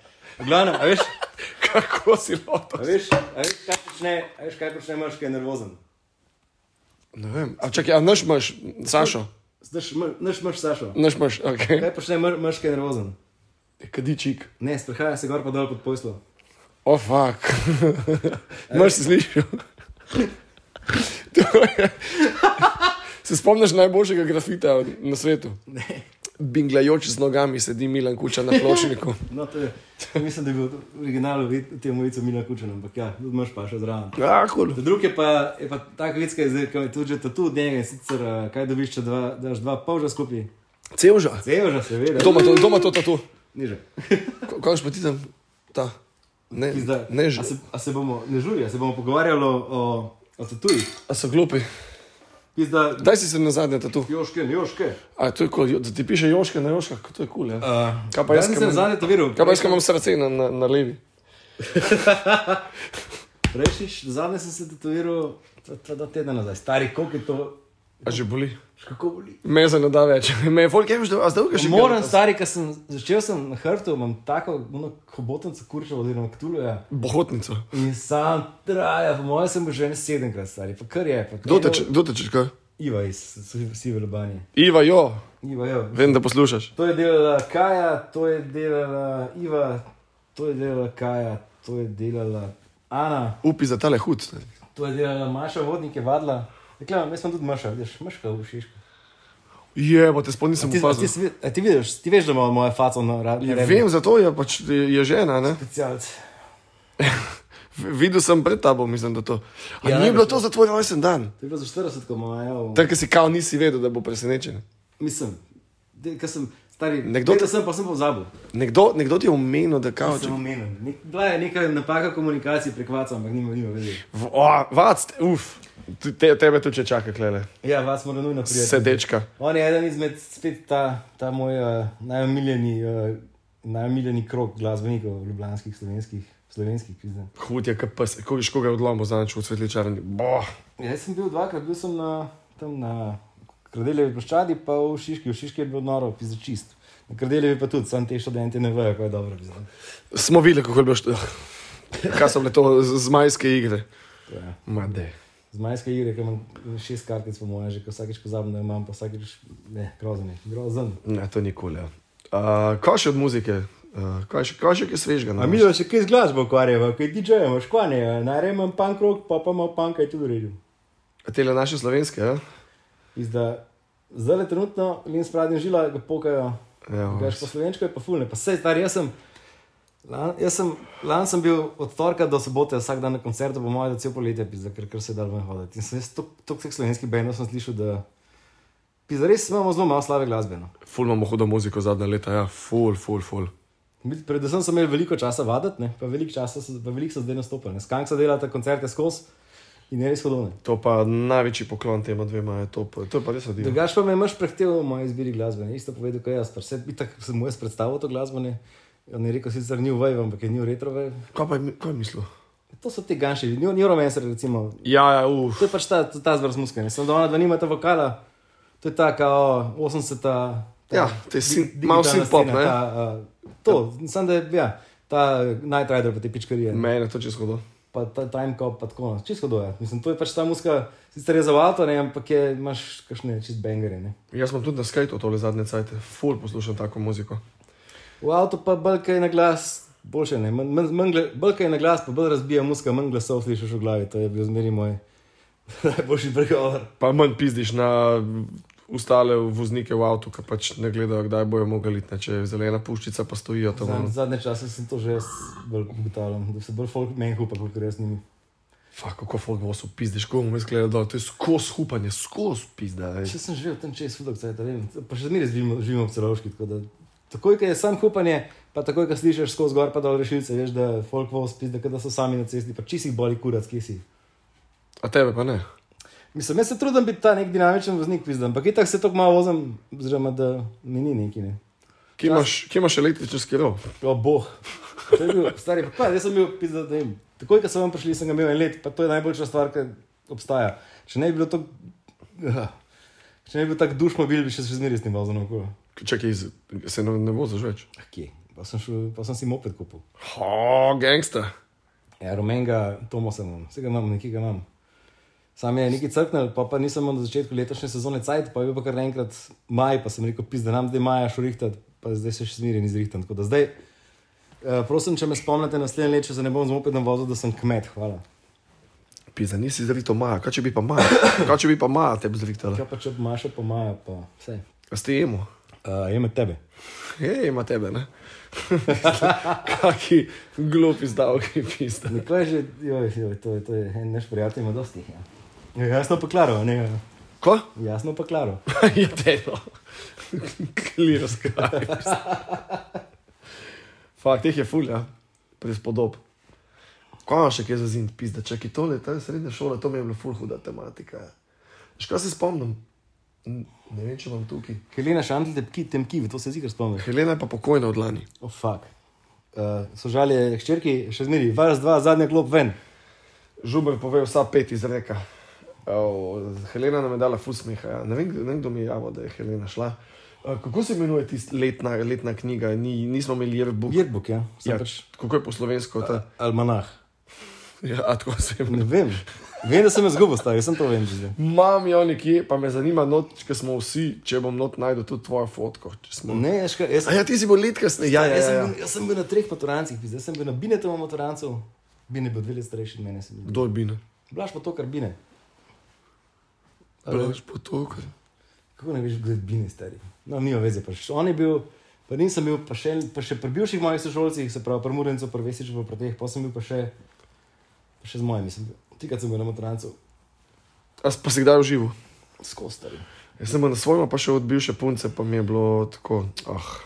Speaker 3: Glavno, a veš,
Speaker 1: Kako si loto?
Speaker 3: a veš, a veš, kaj počne, a veš, kaj počne, imaš, ki je nervozen.
Speaker 1: Ne vem. A čakaj, a naš imaš, Sašo?
Speaker 3: Znaš, znaš, znaš, Sašo.
Speaker 1: Naš imaš, ok.
Speaker 3: Kaj počne, imaš, ki je nervozen?
Speaker 1: <laughs> Kadičik.
Speaker 3: Ne, sprehaja se gor pa dol pod poslom.
Speaker 1: O, oh, fuck. <laughs> Mrš si slišal. <laughs> To je- <laughs> Se spomniš najboljšega grafita na svetu? Ne. Binglajoč z nogami sedi Milan Kuča na <laughs> pločniku.
Speaker 3: No, to je, mislim, da je bil original v tem ulicu Mila Kučena, ampak ja, tudi imaš pa še zraven.
Speaker 1: Ah, kul.
Speaker 3: Ta Drugi je pa, je pa tako vitska, ki je tudi že tatu od njega in sicer eh, kaj dobiš, če dva, daš dva polža skupaj.
Speaker 1: Cevža.
Speaker 3: Zeoža, seveda.
Speaker 1: Doma to, doma to, to, to.
Speaker 3: Niže.
Speaker 1: Ko- Konč pa ti tam, ta. Ne,
Speaker 3: Pizda.
Speaker 1: ne, že.
Speaker 3: A se, a se bomo, ne žuri, a se bomo pogovarjali o, o, o tatujih.
Speaker 1: A so glupi.
Speaker 3: Pizda,
Speaker 1: Daj si se na zadnje tatu.
Speaker 3: joške, ne joške.
Speaker 1: A to je kul, jo- da ti piše Joška na Joškah, to je kul, ja.
Speaker 3: Uh,
Speaker 1: Kaj pa jaz,
Speaker 3: sem
Speaker 1: ki imam-
Speaker 3: zadnje to videl.
Speaker 1: Kaj pa jaz, ko imam srce na, na, na levi?
Speaker 3: Rešiš, zadnje sem se tatoviral ta- ta dva tedna nazaj. Stari, koliko je to,
Speaker 1: A že boli?
Speaker 3: še kako boli.
Speaker 1: Me se ne da več. <laughs> Me je folk, jemš, da zdaj ga še
Speaker 3: Moram, stari, ker sem začel sem na hrbtu, imam tako ono hobotnico kurčev, oziroma ja. ktuluja.
Speaker 1: Bohotnico.
Speaker 3: In sam traja, po mojem, sem bil že en sedemkrat star, pa kar je. Pa
Speaker 1: Kdo teče, kdo teče, kaj?
Speaker 3: Iva iz Sive Ljubljana.
Speaker 1: Iva, jo,
Speaker 3: Iva, jo.
Speaker 1: vem, da poslušaš.
Speaker 3: To je delala Kaja, to je delala Iva, to je delala Kaja, to je delala Ana,
Speaker 1: Upi za tale hud.
Speaker 3: to je delala Maša, vodnik je vadla. Rekla, jaz sem tudi Maša, vidiš, Maška v Šišku.
Speaker 1: Je, bo te spod nisem
Speaker 3: Ti, a ti,
Speaker 1: opazil.
Speaker 3: si vid- a ti, vidiš, ti veš, da ima moja faca na radi.
Speaker 1: Ja, Vem, zato je pač je je žena, ne? <laughs>
Speaker 3: Specialc.
Speaker 1: V- Videl sem pred tabo, mislim, da to. A
Speaker 3: Ja,
Speaker 1: ja, ni
Speaker 3: najbrž
Speaker 1: bilo to za tvoj rojsten dan?
Speaker 3: To je bilo za 40, ko ima, ja. v-
Speaker 1: Tako si kao nisi vedel, da bo presenečen.
Speaker 3: Mislim, de, sem, Stari,
Speaker 1: Nekdo
Speaker 3: Nekdo
Speaker 1: te-
Speaker 3: te... sem pa sem pozabil.
Speaker 1: Nekdo, nekdo ti je omenil, da kao, če...
Speaker 3: Sem omenil. Nek, bila je neka napaka komunikacije prek vaca, ampak nima, nima veze.
Speaker 1: V- o, Vac, uf, Tu- te, tebe tudi če čaka, klele.
Speaker 3: Ja, vas mora nujno prijeti.
Speaker 1: Sedečka.
Speaker 3: On je eden izmed spet ta, ta moj uh, najomiljeni, uh, najomiljeni krok glasbenikov, ljubljanskih, slovenskih, slovenskih pizden.
Speaker 1: Hud je, kot pes, ko viš koga odlomil, znaš v svetličarni. Boh.
Speaker 3: Ja, Jaz sem bil dvakrat, bil sem na, tam na Kradeljevi ploščadi, pa v Šiški, v Šiški je bil noro, pizden čist. Na Kradeljevi pa tudi, sam te študente ne vejo, kako je dobro pizden.
Speaker 1: Smo videli, kako je bilo šlo. <laughs> Kaj so bile to z- zmajske igre?
Speaker 3: Ja.
Speaker 1: Made.
Speaker 3: Z majske igre, ki imam šest kartic, po mojem, že ko vsakeč pozabim, da imam, pa vsakeč ne, grozen je, grozen.
Speaker 1: Ne, to nikoli. ja. Uh, kaj še od muzike? Uh, kaj še, kaj še kaj no? svežga?
Speaker 3: A mi se kaj z glasbo ukvarjamo, kaj DJ-jemo, škvanje, najraje imam punk rock, pa pa imam punk, kaj tudi uredim.
Speaker 1: Tele naše slovenske, ja?
Speaker 3: Izda, zdaj le trenutno, in spradim žila, ga pokajo.
Speaker 1: Ja,
Speaker 3: Gaš po slovenčko je pa fulne, pa sej star, jaz sem, lan, jaz sem, lan sem bil od torka do sobote vsak dan na koncertu, po mojem, da cel poletje, pizda, ker, ker se je dal ven hoditi. In sem jaz tok, tok vseh slovenskih bendov sem slišal, da, pizda, res imamo zelo malo no. slave glasbeno.
Speaker 1: ful imamo hudo muziko zadnja leta, ja, ful, ful, ful.
Speaker 3: Mi- Predvsem sem imel veliko časa vaditi, ne, pa veliko časa so, pa veliko so zdaj nastopili. Skank so delali koncerte skozi in je res hodone.
Speaker 1: To pa največji poklon tema dvema je to, pa- to je pa res odlično.
Speaker 3: Drugač pa me imaš prehteval v moji izbiri glasbe, ne isto povedal, kaj jaz, pa vse itak sem mu jaz predstavil to glasbo, ne, on je rekel sicer new wave, ampak je new retro wave.
Speaker 1: Kaj pa je, mi- kaj je mislil?
Speaker 3: E, To so ti ganši, new, new romancer recimo.
Speaker 1: Ja, ja, uf.
Speaker 3: To je pač ta, ta zvrst muske, ne, samo da ona dva nimata vokala, to je ta kao 80-ta. ta
Speaker 1: Ja, to je sin-
Speaker 3: di-
Speaker 1: malo
Speaker 3: digitalna
Speaker 1: synth-pop,
Speaker 3: scena,
Speaker 1: ne?
Speaker 3: ta, uh, To, samo da je, ja, ta Night Rider pa te pičkarije. ne.
Speaker 1: Mene je to čisto hudo.
Speaker 3: pa ta timecop, pa tako naprej. Čisto doje. Mislim, to je pač ta muska, sicer je za avto, ne, ampak je, imaš kakšne čist bangere. Ne.
Speaker 1: Jaz sem tudi na skajtu tole zadnje cajte, ful poslušam tako muziko.
Speaker 3: V avtu pa balka je na glas, boljše ne, manj- manj- manj gla- bolj, ke je na glas, pa bolj razbija muska, manj glasov slišiš v glavi, to je bil zmeri moj <laughs> najboljši pregovor.
Speaker 1: Pa manj pizdiš na ostale voznike v avtu, ki pač ne gledajo, kdaj bojo mogli iti, ne, če je zelena puščica, pa stojijo tam.
Speaker 3: Zadnje,
Speaker 1: ono.
Speaker 3: zadnje čase sem to že jaz bolj ugotavljam, da se bolj folk meni hupa, kot jaz njimi.
Speaker 1: Fak, kako folk bo so pizdiš, ko bomo izgledali dol, to je skozi hupanje, skozi pizda. ej.
Speaker 3: Še sem živel tam čez hudok, zdaj vem, pa še zmeraj živimo, živimo v celovški. tako da Takoj, ko je sam hupanje, pa takoj, ko slišiš skozi gor, pa dol rešilce, veš, da folk voz pizda, kot da so sami na cesti, pa čisi boli kurac, ki si.
Speaker 1: A tebe pa ne.
Speaker 3: Mislim, jaz se trudim biti ta nek dinamičen voznik pizda, ampak itak se tako malo vozim, oziroma da mi ni neki ne.
Speaker 1: Kje imaš, kje imaš električni skiro?
Speaker 3: O boh. To je bil stari pa, jaz sem bil pizda, da jim. Takoj, ko sem vam prišli, sem ga imel en let, pa to je najboljša stvar, ki obstaja. Če ne bi bilo to... Če ne bi bil tak dušmobil, bi še še zmeraj s tem vozil okolo.
Speaker 1: Čakaj, iz- se ne, ne voziš več.
Speaker 3: Ah, Kje? Pa sem, šel, pa sem si moped kupil.
Speaker 1: Ha, gangsta.
Speaker 3: Ja, rumenega Tomosa imam, vsega imam, nekaj ga imam. Sam je nekaj crknil, pa, pa nisem imel na začetku letošnje sezone cajt, pa je bil pa kar naenkrat maj, pa sem rekel, pis, da nam zdaj maja šurihtati, pa zdaj se še zmeraj ni zrihtan. Tako da zdaj, eh, prosim, če me spomnite naslednje leto, če se ne bom z mopedom vozil, da sem kmet, hvala.
Speaker 1: Pizda, nisi zrito maja, kaj če bi pa maja, kaj če bi pa maja tebe zrihtala.
Speaker 3: Kaj pa če maša po maju, pa vse.
Speaker 1: A ste jemo?
Speaker 3: Uh, je med tebe.
Speaker 1: Hej, ima tebe, ne? <laughs> Kaki glupi zdavki, pizda.
Speaker 3: Nekaj že, joj, joj, to je, to je, en naš prijatelj ima dosti. jih, Ja. Ja, jasno pa klaro, ne,
Speaker 1: Ko?
Speaker 3: jasno pa klaro.
Speaker 1: je delo. Clear sky. Fakt, teh je fulja, prispodob. Kaj imaš še kaj za zim, pizda, če ki tole, ta srednja šola, to mi je bila ful huda tematika. Še kaj se spomnim? N- Ne vem, če imam tukaj.
Speaker 3: Helena Šantl, temki, temki, to se zikar spomniš.
Speaker 1: Helena je pa pokojna od lani.
Speaker 3: Oh, fuck. Uh, so žalje hčerki, še zmeri, vas dva, zadnja klop ven.
Speaker 1: Žuber pove vsa pet iz reka. Oh, Helena nam je dala ful smeha. Ja. Ne, vem, kdo- ne vem, kdo mi je javil, da je Helena šla. Eh, Kako se imenuje tista letna, letna knjiga? Ni, nismo imeli jerbu.
Speaker 3: Jerbuk, ja, sem
Speaker 1: Ja,
Speaker 3: ja. pač
Speaker 1: kako je po slovensko? Ta,
Speaker 3: almanah.
Speaker 1: ja, a tako se imenuje.
Speaker 3: Ne vem, vem, da sem jaz zgubil, stari, sem to vem že zdaj.
Speaker 1: Imam jo ja, nekje, pa me zanima, not, če smo vsi, če bom not najdel tudi tvojo fotko. če Smo...
Speaker 3: Ne, ješ kaj, jaz,
Speaker 1: A ja, ti si bolj let kasneje. Ja, ja,
Speaker 3: jaz,
Speaker 1: ja,
Speaker 3: sem
Speaker 1: ja.
Speaker 3: bil, jaz sem bil na treh motorancih, zdaj sem bil na Binetu motorancu, Bine bo dve leti starejši od mene. se mi zdi.
Speaker 1: Kdo je bil?
Speaker 3: Blaž pa to, kar Bine. Ali-
Speaker 1: Blaž potok.
Speaker 3: Kako ne veš, kdo je Bine, stari? No, nima veze, pač on je bil, pa nisem bil, pa še, pa še pri bivših mojih sošolcih, se pravi, pri Murencu, pri Vesiču, pri teh, pa sem bil pa še, pa še z mojimi, sem bil. Tikaj sem bil na motorancu,
Speaker 1: A s- pa si kdaj užival?
Speaker 3: skozi stari.
Speaker 1: Jaz sem bil na svojem, pa še od bivše punce, pa mi je bilo tako, ah,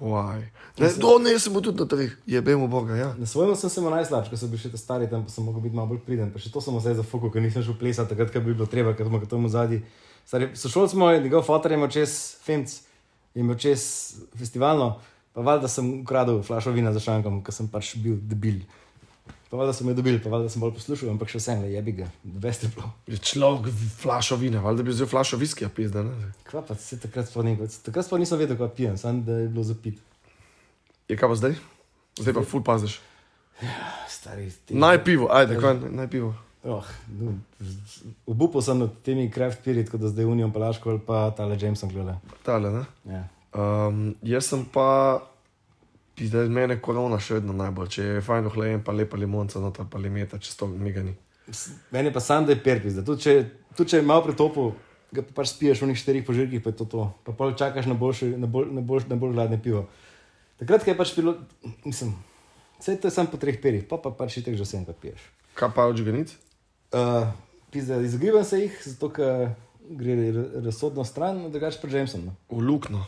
Speaker 1: why. Ne, do, ne, jaz sem bil tudi na treh, jebemo Boga, ja.
Speaker 3: Na svojem sem se mu najslabši, ker sem bil še ta stari, tam pa sem mogel biti malo bolj priden. Pa še to sem zdaj zafukal, ker nisem šel plesati takrat, ko bi bilo treba, ker smo ga tam zadnji. Sošolc moj, njegov fotor je imel čez Femc, je imel čez festivalno, pa valjda sem ukradel flašo vina za šankom, ker sem pač bil debil. Pa valjda sem jo dobil, pa valjda sem bolj poslušal, ampak še vsem le jebi ga, veste bilo.
Speaker 1: Je človek flašo vina, valjda bi vzel flašo viskija, pizda, ne.
Speaker 3: Kva pa se takrat sploh ne, takrat sploh nisem vedel, kaj pijem, samo da je bilo zapit.
Speaker 1: Je kaj pa zdaj? Zdaj pa ful paziš.
Speaker 3: Stari, ti.
Speaker 1: Naj pivo, ajde, kaj, naj pivo.
Speaker 3: Oh, no, obupal sem nad temi craft pirit, kot da zdaj Unijo Palaško ali pa tale Jameson gleda.
Speaker 1: Tale, ne.
Speaker 3: Ja.
Speaker 1: Um, jaz sem pa, pizda, mene korona še vedno najbolj, če je fajn ohlajen, pa lepa limonca, no ta pa limeta, če to mega ni.
Speaker 3: S- Meni pa sam, da je perpis, da tudi če, tudi če je malo pretopil, ga pa pač spiješ v njih štirih požirkih, pa je to to. Pa pol čakaš na boljše, na bolj, na bolj, na bolj gladne pivo. Takrat, ko je pač bilo, mislim, vse to je samo po treh perih, pa pa pač itek že vsem, ko piješ.
Speaker 1: Kaj pa odžganic?
Speaker 3: Uh, pizda, izogibam se jih, zato ker gre ra- razsodno stran, drugače pa Jameson. no.
Speaker 1: V luknjo.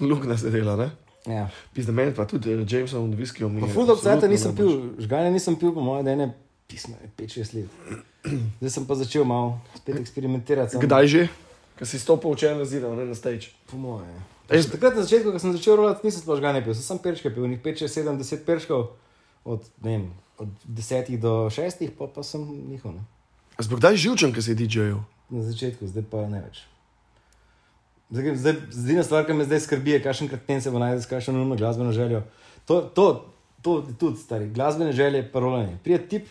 Speaker 1: Luknja se dela, ne.
Speaker 3: Ja.
Speaker 1: Pizda, meni pa tudi eh, Jameson od viskijo mi.
Speaker 3: Pa
Speaker 1: je
Speaker 3: ful dolgo
Speaker 1: absolutno ja, pač.
Speaker 3: cajta nisem
Speaker 1: najboljše.
Speaker 3: pil, žganje nisem pil, po mojem, da je ne pismo, 5-6 let. Zdaj sem pa začel malo spet eksperimentirati. samo
Speaker 1: Kdaj že? Ker si stopil v čelno zido, ne na stage.
Speaker 3: Po mojem.
Speaker 1: Ej,
Speaker 3: Že Takrat na začetku, ko sem začel rolati, nisem sploh žganje pil, sem sam perčke pil, njih 5, 6, 7, 10 perčkov, od, ne vem, od 10 do 6, pa, pa sem njihov. Ne?
Speaker 1: A Zbog kdaj živčen, ki si DJ-jev?
Speaker 3: Na začetku, zdaj pa ne več. Zdaj, grem- zdaj, edina stvar, ki me zdaj skrbi, je, kakšen krten se bo najdel, s kakšno nujno glasbeno željo. To, to, to je tudi stari, glasbene želje, parolanje. Prije tip,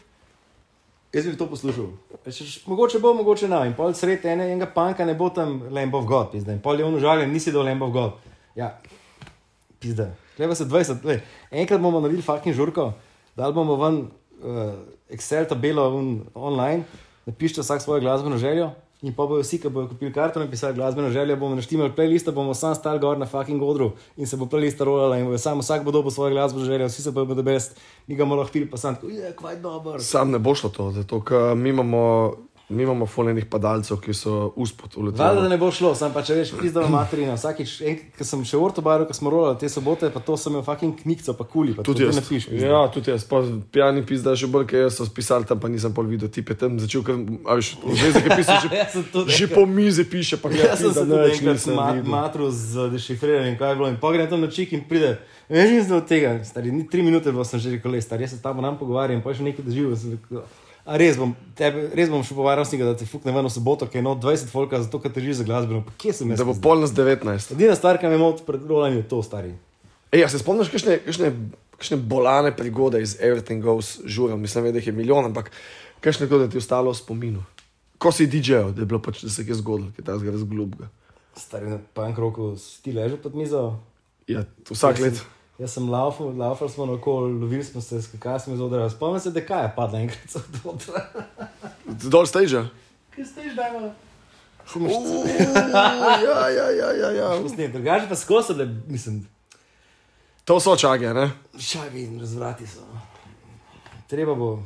Speaker 3: jaz bi to poslušal. Rečeš, mogoče bo, mogoče ne. In pol sred ene, enega panka ne bo tam Lamb of God, pizda. In pol je on užaljen, nisi do Lamb of God. Ja, pizda. Kleva se 20, le. Enkrat bomo naredili fucking žurko, dal bomo ven uh, Excel tabelo un, online, napišite vsak svojo glasbeno željo. In pa bojo vsi, ki bojo kupili karto, napisali glasbeno željo, bomo naštimali playlist, bomo sam stal gor na fucking odru in se bo playlist rolala in bojo sam vsak bo dobil svojo glasbeno željo, vsi se bojo bodo best, mi ga bomo lahko pili, pa sam tako, je, kvaj dober.
Speaker 1: Sam ne bo šlo to, zato ker mi imamo, mi imamo fulejnih padalcev, ki so uspod
Speaker 3: Valjda, da
Speaker 1: uleteli.
Speaker 3: ne bo šlo, sem pa če veš, prizdala materina. Vsakič, ki sem še v ortobaru, ko smo rolali te sobote, pa to sem imel fucking knjigo, pa kuli, pa
Speaker 1: Tudi
Speaker 3: tudi
Speaker 1: jaz.
Speaker 3: ne piš.
Speaker 1: Ja, tudi jaz. Pa pijani pizda še bolj, ker jaz so spisali tam, pa nisem pol videl tipe. Tam začel, ker, a veš, zvezek je
Speaker 3: <laughs>
Speaker 1: pisal, že,
Speaker 3: Jaz Ja, sem tudi
Speaker 1: že
Speaker 3: enkrat-
Speaker 1: po mizi piše, pa gleda,
Speaker 3: Jaz sem se
Speaker 1: ja, pizda,
Speaker 3: tudi
Speaker 1: nič
Speaker 3: enkrat
Speaker 1: nisem
Speaker 3: ma-
Speaker 1: videl.
Speaker 3: matru z dešifriranjem, kaj je bilo. In pogrem tam na čik in pride. Veš, nisem od tega, stari, ni tri minute bilo sem že rekel, le, stari, jaz se tam nam pogovarjam, pa še nekaj doživljam. sem rekel, A res bom, tebe, res bom šel povarjal snega, da te fukne ven v soboto, ker je no 20 folka, zato ker težiš za glasbeno. Pa kje sem jaz?
Speaker 1: Da bo pol nas 19.
Speaker 3: Edina stvar, ki me moti pred rolanjem, je to, stari.
Speaker 1: Ej, a se spomniš kakšne, kakšne, kakšne bolane prigode iz Everything Goes žura? Mislim, da jih je milijon, ampak kakšne tako, da ti je ostalo v spominu. Ko si DJ-jev, da je bilo pač, da se je kaj zgodilo, kaj ta zgor zglubga.
Speaker 3: Stari na pank roku, ti ležeš pod mizo.
Speaker 1: Ja, vsak
Speaker 3: Jaz sem-
Speaker 1: let.
Speaker 3: Jaz sem laufal, laufal smo na okol, lovili smo se, skakali smo iz odra. Spomnim se, da kaj je padla enkrat od odra.
Speaker 1: Dol stage.
Speaker 3: Kaj ste že dajali?
Speaker 1: <laughs> Ja, ja, ja, ja, ja.
Speaker 3: Ne, drugače pa skozi, da mislim,
Speaker 1: To so čage, ne?
Speaker 3: šagi in razvrati so. Treba bo,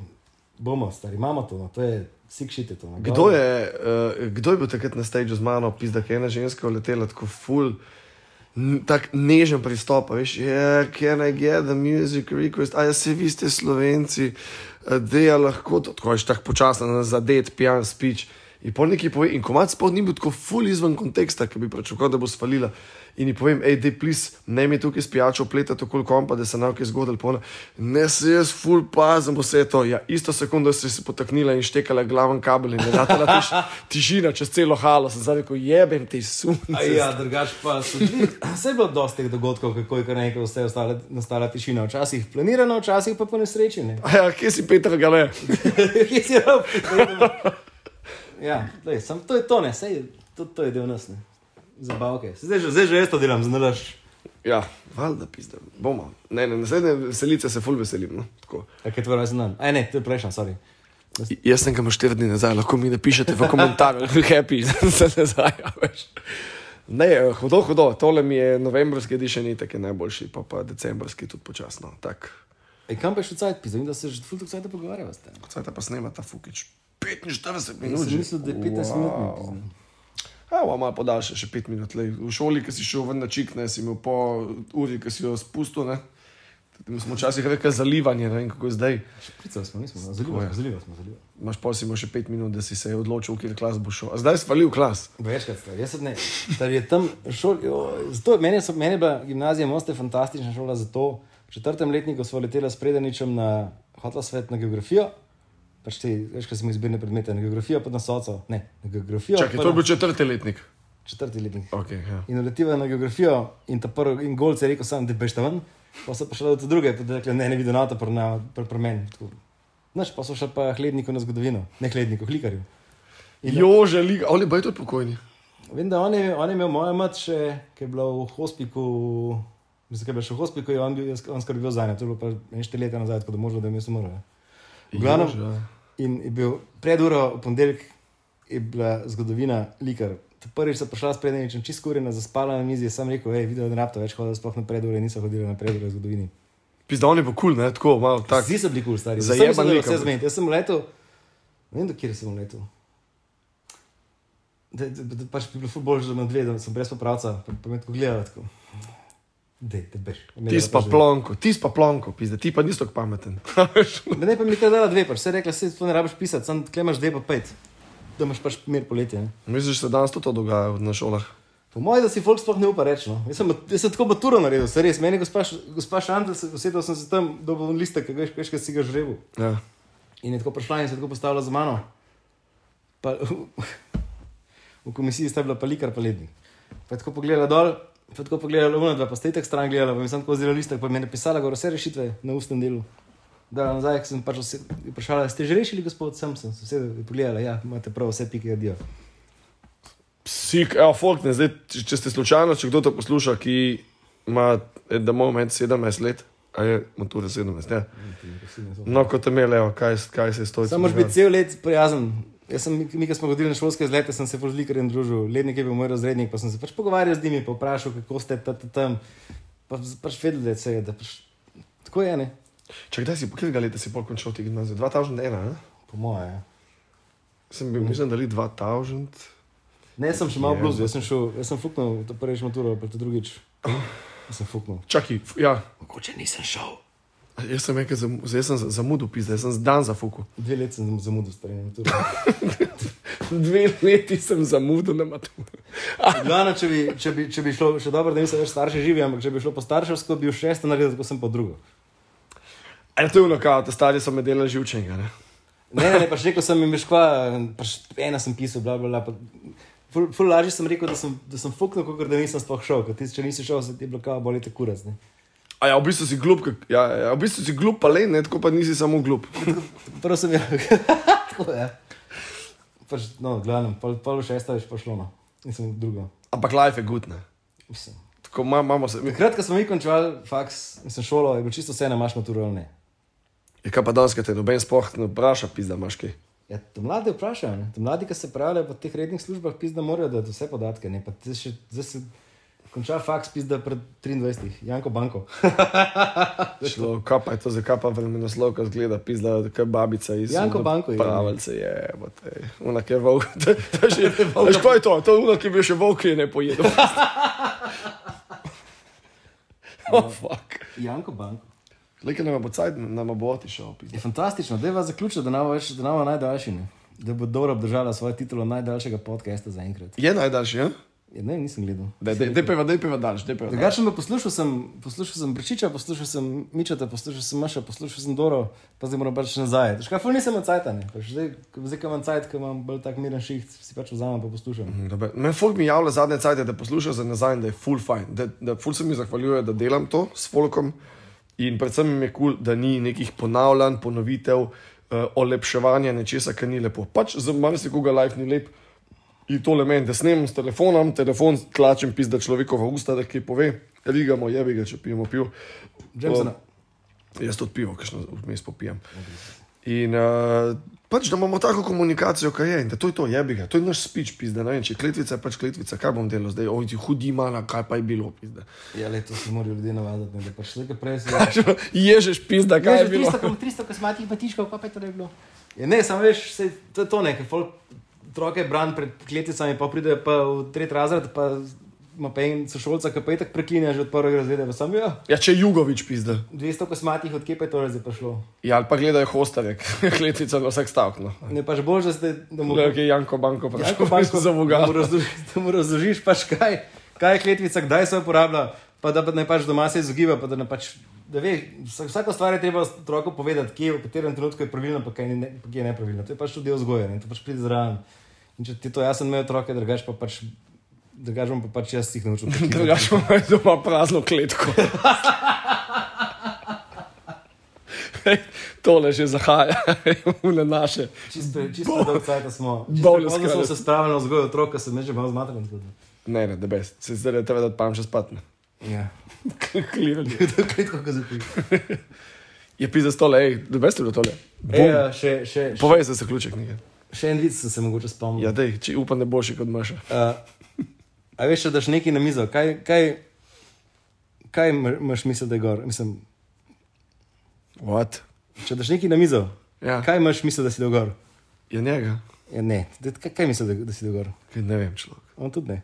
Speaker 3: bomo, stari, imamo to, no, to je vsi kšite to. No.
Speaker 1: Kdo je, uh, kdo je bil takrat na stage z mano, pizda, ki je ena ženska letela tako full, tako nežen pristop, a veš, yeah, can I get the music request, a ja se vi ste slovenci, da je lahko to, tako veš, tako počasen, zadet, pijan, spič. In po neki pove, in komat sploh ni bil tako full izven konteksta, ki bi pričakoval, da bo svalila. In ji povem, hej, dej, plis, ne mi tukaj spijačo pleta, tako kompa, da se nam kaj zgodilo. Pa ona, Ne se jaz, full pazem, vse to. Ja, isto sekundo si se potaknila in štekala glaven kabel in naredila tiš, <laughs> tišina čez celo halo, sem zdaj rekel, jebem ti sun.
Speaker 3: A Ja, drugače pa so <laughs> bili. Vse je bilo dosti teh dogodkov, kako je kar nekaj vse ostala, nastala tišina. Včasih planirano, včasih pa po nesreči. Ne.
Speaker 1: <laughs> Ja, kje si Petr Gale?
Speaker 3: <laughs> Kje si rob? ja, lej, sam, to je to, ne, sej, to, to je del nas, ne. Zabavke. Saj Zdaj, že- zdaj že jaz to delam, znaš.
Speaker 1: <laughs> Ja, valjda pizda, bomo. Ne, ne, naslednje selice se full veselim. No? tako.
Speaker 3: A kaj tvoj rojsten dan? Aj ne, to je prejšnja, sorry.
Speaker 1: J- Jaz sem ga imel štiri dni nazaj, lahko mi napišete v komentarjih, <laughs> happy, da se nazaj. a veš. Ne, eh, hudo, hudo, tole mi je novembrski edition, itak je najboljši, pa pa decembrski tudi počasno. Tako,
Speaker 3: Ej, kam pa še cajt, pizem, da se že fuldo cajt pogovarjava s tem.
Speaker 1: kaj ta pa snema ta fukič? 45
Speaker 3: Jaz
Speaker 1: minut.
Speaker 3: sem
Speaker 1: že.
Speaker 3: mislil, da je 15
Speaker 1: Wow.
Speaker 3: minut.
Speaker 1: A, bo malo podaljša, še pet minut. Lej. V šoli, ki si šel ven na čik, ne si imel po uri, ki si jo spustil. Ne. Mi smo včasih rekli zalivanje, ne vem kako je zdaj.
Speaker 3: Šprica smo, nismo, zaliva, zaliva smo, zaliva.
Speaker 1: Imaš pa si imel še pet minut, da si se odločil, v kateri klas boš šel. A zdaj si valil klas.
Speaker 3: Večkrat ste, jaz ne. Ker je tam šol, jo, zato, meni, so, meni je bila gimnazija Most je fantastična šola, zato v četrtem letniku smo leteli s predaničem na hotla svet na geografijo. Pač te, veš, kaj smo izbirne predmete, na geografijo, pa na soco. Ne, na geografijo.
Speaker 1: Čakaj,
Speaker 3: pa
Speaker 1: to je
Speaker 3: na
Speaker 1: bil četrti letnik.
Speaker 3: četrti letnik.
Speaker 1: Okay, ja.
Speaker 3: In uletiva na geografijo, in ta prvi, in Golc je rekel, sam, da bež tam ven, pa so pa šli do druge, pa da rekli, ne, ne vidim avto, pri nama- pri pri meni. Tako. Naš pa so šli pa hledniku na zgodovino, ne hledniku, klikarju.
Speaker 1: Jože, liga, ali pa je to pokojni.
Speaker 3: Vem, da on je, on je imel moja mat, še, ki je bila v hospiku, mislim, da je bila še v hospiku, je on, bil, jaz- on skrbel za njo, to je bilo pa nekaj leta nazaj, tako da možno, da je mesto umrlo. V glavnem,
Speaker 1: Jože, ja.
Speaker 3: in je bil pred uro, v ponedeljek je bila zgodovina likar. Ta Prvič sem prišla s prednjem, čez kurina, zaspala na mizi, sem rekel, hej, videl, da ne rabta več hoditi, sploh na predure, niso hodili na predure v zgodovini.
Speaker 1: Pizdavni bo kul, cool, ne tako, malo tak.
Speaker 3: Vsi so bili kul, stari.
Speaker 1: Zajeban
Speaker 3: Zajeban je
Speaker 1: lik,
Speaker 3: vse
Speaker 1: ampak.
Speaker 3: zmed. Jaz sem letel, ne vem, do kje sem letel. Da, da, da, pač bi bilo ful bolj že na dve, da sem brez popravca, pa, pa me tako gledal. Tako. Dej, te bež.
Speaker 1: Ti si pa plonko, ti si pa plonko, pizda, ti pa nisi tako pameten. <laughs>
Speaker 3: Ne, ne, pa mi je dala dve, pač. vse rekla, se to ne rabiš pisati, sam klemaš dve pa pet, da imaš pač mir poletje. Ne?
Speaker 1: Misliš, da se danes tudi to dogaja v- na šolah?
Speaker 3: Po mojem, da si folk sploh ne upa reči. No. Jaz, sem, jaz sem tako maturo naredil, se res. Meni, je gospa, Š- gospa Šandl, usedel sem se tam, dobil listek, ki ga veš, kaj si ga žrebil.
Speaker 1: Ja.
Speaker 3: In je tako prišla in se je tako postavila za mano. Pa, v komisiji sta bila pa likar, pa ledni. Pa je tako pogledala dol, pa je tako pogledala uno, dva, pa ste tek stran gledala, pa mi je samo tako zelo listek, pa mi je napisala gor vse rešitve na ustnem delu. Da, nazaj ko sem pač ose- jo vprašala, ste že rešili, gospod, sem sem se pogledala, ja, imate prav, vse pike adijo.
Speaker 1: Psik, evo, ja, folk, ne, zdaj, če- če ste slučajno, če kdo to posluša, ki ima, eh, da moj med 17 let, a je matura 17, ja. No, kot imel, evo, kaj, s- kaj se je stojilo.
Speaker 3: Sam moraš biti cel let prijazen. Jaz sem, mi- mi, ki smo hodili na šolske izlete, sem se z likarjem družil. Lednik je bil moj razrednik, pa sem se pač pogovarjal z njimi, pa vprašal, kako ste ta, ta, tam. Pa z- pač vedel, da je vse, da pač tako je, ne?
Speaker 1: Če kdaj si, katerega leta si pol končal ti gimnazijo? 2001, ne?
Speaker 3: Po moje. ja.
Speaker 1: Sem bil, mislim, da li 2000.
Speaker 3: Ne, jaz sem še malo
Speaker 1: Je,
Speaker 3: blues, jaz sem šel, jaz sem fuknil, to prvič maturo, pa to drugič. Jaz sem fuknil.
Speaker 1: Čakaj, f- ja,
Speaker 3: Mogoče nisem šel.
Speaker 1: jaz sem nekaj zam, zdaj sem za- zamudil, pizda, jaz sem z dan zafuku.
Speaker 3: Dve leti sem zamudil, stari maturo.
Speaker 1: Dve leti sem zamudil na maturo.
Speaker 3: Glavno, če bi, če bi, če bi šlo, še dobro, da niso več starši živi, ampak če bi šlo po starševsko, bi bil šesto naredil, tako sem pa drugo.
Speaker 1: Ja, to je unokav, te stari so me delali živčenega, ne?
Speaker 3: Ne, ne, ne, pač rekel sem jim, škva, pač ena sem pisal, bla, bla, bla. Pa, ful, ful lažje sem rekel, da sem, da sem fuknil, kot da nisem sploh šel, ker ti, če nisi šel, se ti je blokal, boli te kurac. Ne.
Speaker 1: A ja, v bistvu si glup, kak- ja, ja, v bistvu si glup, pa le, ne, tako pa nisi samo glup.
Speaker 3: Prvo sem jih, <laughs> tako je. Pač, no, glavno, pol, pol šesta je že pošlo, no. Nisem drugo.
Speaker 1: Ampak life je good, ne.
Speaker 3: Mislim.
Speaker 1: Tako ma- imamo se. mi-
Speaker 3: Takrat, ko smo mi končali faks, mislim, šolo, je bilo čisto vseeno, imaš maturo ali ne.
Speaker 1: Je Ja, kaj pa danes, kaj te noben spoh ne vpraša, pizda, imaš kaj.
Speaker 3: Ja, te mlade vprašajo, ne? te mlade, ki se pravijo po teh rednih službah, pizda morajo dati vse podatke, ne pa ti še, zdaj se konča faks, pizda pred 23, Janko Banko.
Speaker 1: Šlo, kaj pa je to, zakaj pa vremenoslovka zgleda, pizda, kaj babica iz
Speaker 3: Janko Banko je.
Speaker 1: Pravilce je, bote. Unak je volk. <laughs> To- to je že-
Speaker 3: <laughs>
Speaker 1: Veš, kaj je to? To je unak, ki bi še volk je ne pojedel. oh, fuck.
Speaker 3: Janko Banko.
Speaker 1: Leke nam bo cajt, nam bo otišel, pizda.
Speaker 3: Je fantastično, da je vas zaključil, da nam več, da nam najdaljši, ne? da bo dobro obdržala svojo titulo najdaljšega podcasta zaenkrat.
Speaker 1: Je najdaljši, ja?
Speaker 3: Ja, ne, nisem gledal.
Speaker 1: Daj, daj, daj peva, daj peva daljši, daj peva daljši.
Speaker 3: Drugače me poslušal sem, poslušal sem Brčiča, poslušal sem Mičata, poslušal sem Maša, poslušal sem Doro, pa zdaj moram pač nazaj. Škoda, ful nisem cajt, ne. Pač zdaj, ko- zdaj, ko imam cajt, ko imam bolj tak miren šiht, si pač vzamem pa poslušam.
Speaker 1: Dobre. Me folk mi javlja zadnje cajt, da posluša za nazaj, in da je full fajn, da, da full se mi zahvaljuje, da delam to s folkom in predvsem jim je kul, cool, da ni nekih ponavljanj, ponovitev, uh, olepševanja nečesa, kar ni lepo. Pač za marsikoga life ni lep in tole meni, da snemam s telefonom, telefon tlačem pizda človekova usta, da kaj pove, rigamo, jebi ga, če pijemo pivo.
Speaker 3: Jamesona.
Speaker 1: Jaz tudi pivo, kajšno vmes popijem. In uh, pač, da imamo tako komunikacijo, kaj je, in da to je to, jebi ga, to je naš speech, pizda, ne vem, če je kletvica je pač kletvica, kaj bom delal zdaj, oj ti hudi mana, kaj pa je bilo, pizda. <laughs>
Speaker 3: Ja, le to se morajo ljudje navaditi, ne, da pač nekaj prej se je.
Speaker 1: Ježeš, pizda, kaj je bilo.
Speaker 3: 300 kosmatih batiškov, pa je to bilo. Ja, ne, samo veš, saj to je to nekaj. Folk, otroke bran pred kleticami, pa pride pa v tretji razred, pa ima pa en sošolca, ki pa je tako preklinja že od prvega razreda, pa sem jo.
Speaker 1: Ja, če je Jugovič pizda.
Speaker 3: 200 kosmatih, odkje pa je to zdaj prišlo?
Speaker 1: Ja, ali pa gledajo <laughs> hostarek, kletvica na vsak stavek. No.
Speaker 3: Ne pa že bolj, da ste da mu
Speaker 1: Gledajo, ki je Janko Banko
Speaker 3: Janko
Speaker 1: prišel
Speaker 3: Banko,
Speaker 1: <laughs> za
Speaker 3: Ja, da mu
Speaker 1: Boga.
Speaker 3: razložiš- da mu razložiš, pač kaj, kaj je kletvica, kdaj se uporablja, pa da pa ne pač doma se izogiba. Pa da ne pač, da ve, vsa- vsako stvar je treba otroku povedati, kje, v katerem trenutku je pravilno, pa kje, ne, pa kje je nepravilno. To je pač tudi del vzgoje, ne, to pač pride zraven. In če ti to jasno imajo otroke, drugač pa pač, drugač bom pa pač jaz jih naučil. prekidati.
Speaker 1: Drugač imamo doma prazno kletko. Ej, Tole že zahaja, <laughs> vne naše.
Speaker 3: Čisto, čisto dolgo časa smo. Čisto
Speaker 1: bolj
Speaker 3: pozno smo
Speaker 1: skrajno.
Speaker 3: se spravili vzgojo otroka, sem že malo zmaten.
Speaker 1: Ne, ne, da bes, se zdaj je treba dati pam še spatne.
Speaker 3: <laughs> Ja,
Speaker 1: <laughs> Kliranje.
Speaker 3: to je kratko, ko zapim.
Speaker 1: Je pizda stole, ej, da bes je bilo tole.
Speaker 3: Ej,
Speaker 1: Bum.
Speaker 3: ja, še, še, še,
Speaker 1: Povej za zaključek nekaj.
Speaker 3: še en vid sem se mogoče spomnil.
Speaker 1: Ja, dej, če upam, ne boš kot maša.
Speaker 3: Uh, a veš, če daš nekaj na mizo, kaj, kaj, kaj ma- imaš misel, da je gor? Mislim,
Speaker 1: What?
Speaker 3: če daš nekaj na mizo,
Speaker 1: Ja,
Speaker 3: kaj imaš misel, da si da gor?
Speaker 1: je njega.
Speaker 3: Ja, ne, da- kaj, kaj misliš, da, da si da gor?
Speaker 1: Kaj ne vem, človek.
Speaker 3: <laughs> On tudi ne.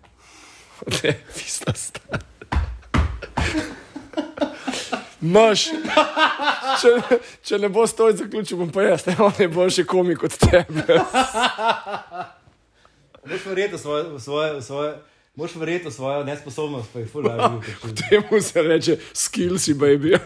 Speaker 1: Ne, pizda stane. Maš, če, če ne bo stoj zaključil, bom pa jaz, ne, on je boljši komik od tebe. <laughs>
Speaker 3: Moš verjeti v svojo, v svojo, v svojo, moš verjeti v svojo nesposobnost, pa je ful, da je bil.
Speaker 1: Temu se reče, skillsi, baby. <laughs>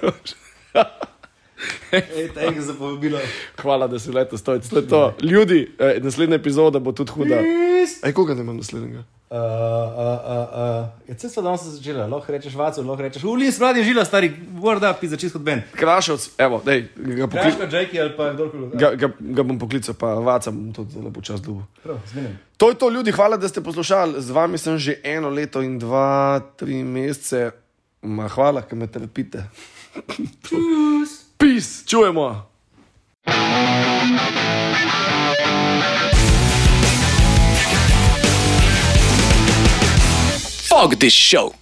Speaker 3: Ej, tega za povabilo.
Speaker 1: Hvala, da si letos stoj. To je to. Ljudi, eh, naslednja epizoda bo tudi huda.
Speaker 3: Peace.
Speaker 1: Aj, koga ne imam naslednjega?
Speaker 3: Uh, uh, uh, uh. Ja, vse so danes začela, lahko rečeš vacu, lahko rečeš, uli, smradi žila, stari, word up, ti začis kot ben.
Speaker 1: Krašovc, evo, dej, ga, pokli,
Speaker 3: Kraško, Jakey ali pa kdorkoli. drug.
Speaker 1: ga, ga, ga bom poklical, pa vacam tudi zelo počas dubu.
Speaker 3: Prav, zmenim.
Speaker 1: To je to, ljudi, hvala, da ste poslušali. Z vami sem že eno leto in dva, tri mesece. Ma, hvala, ker me trpite. <laughs>
Speaker 3: Peace.
Speaker 1: Pis, čujemo.
Speaker 2: Fuck this show.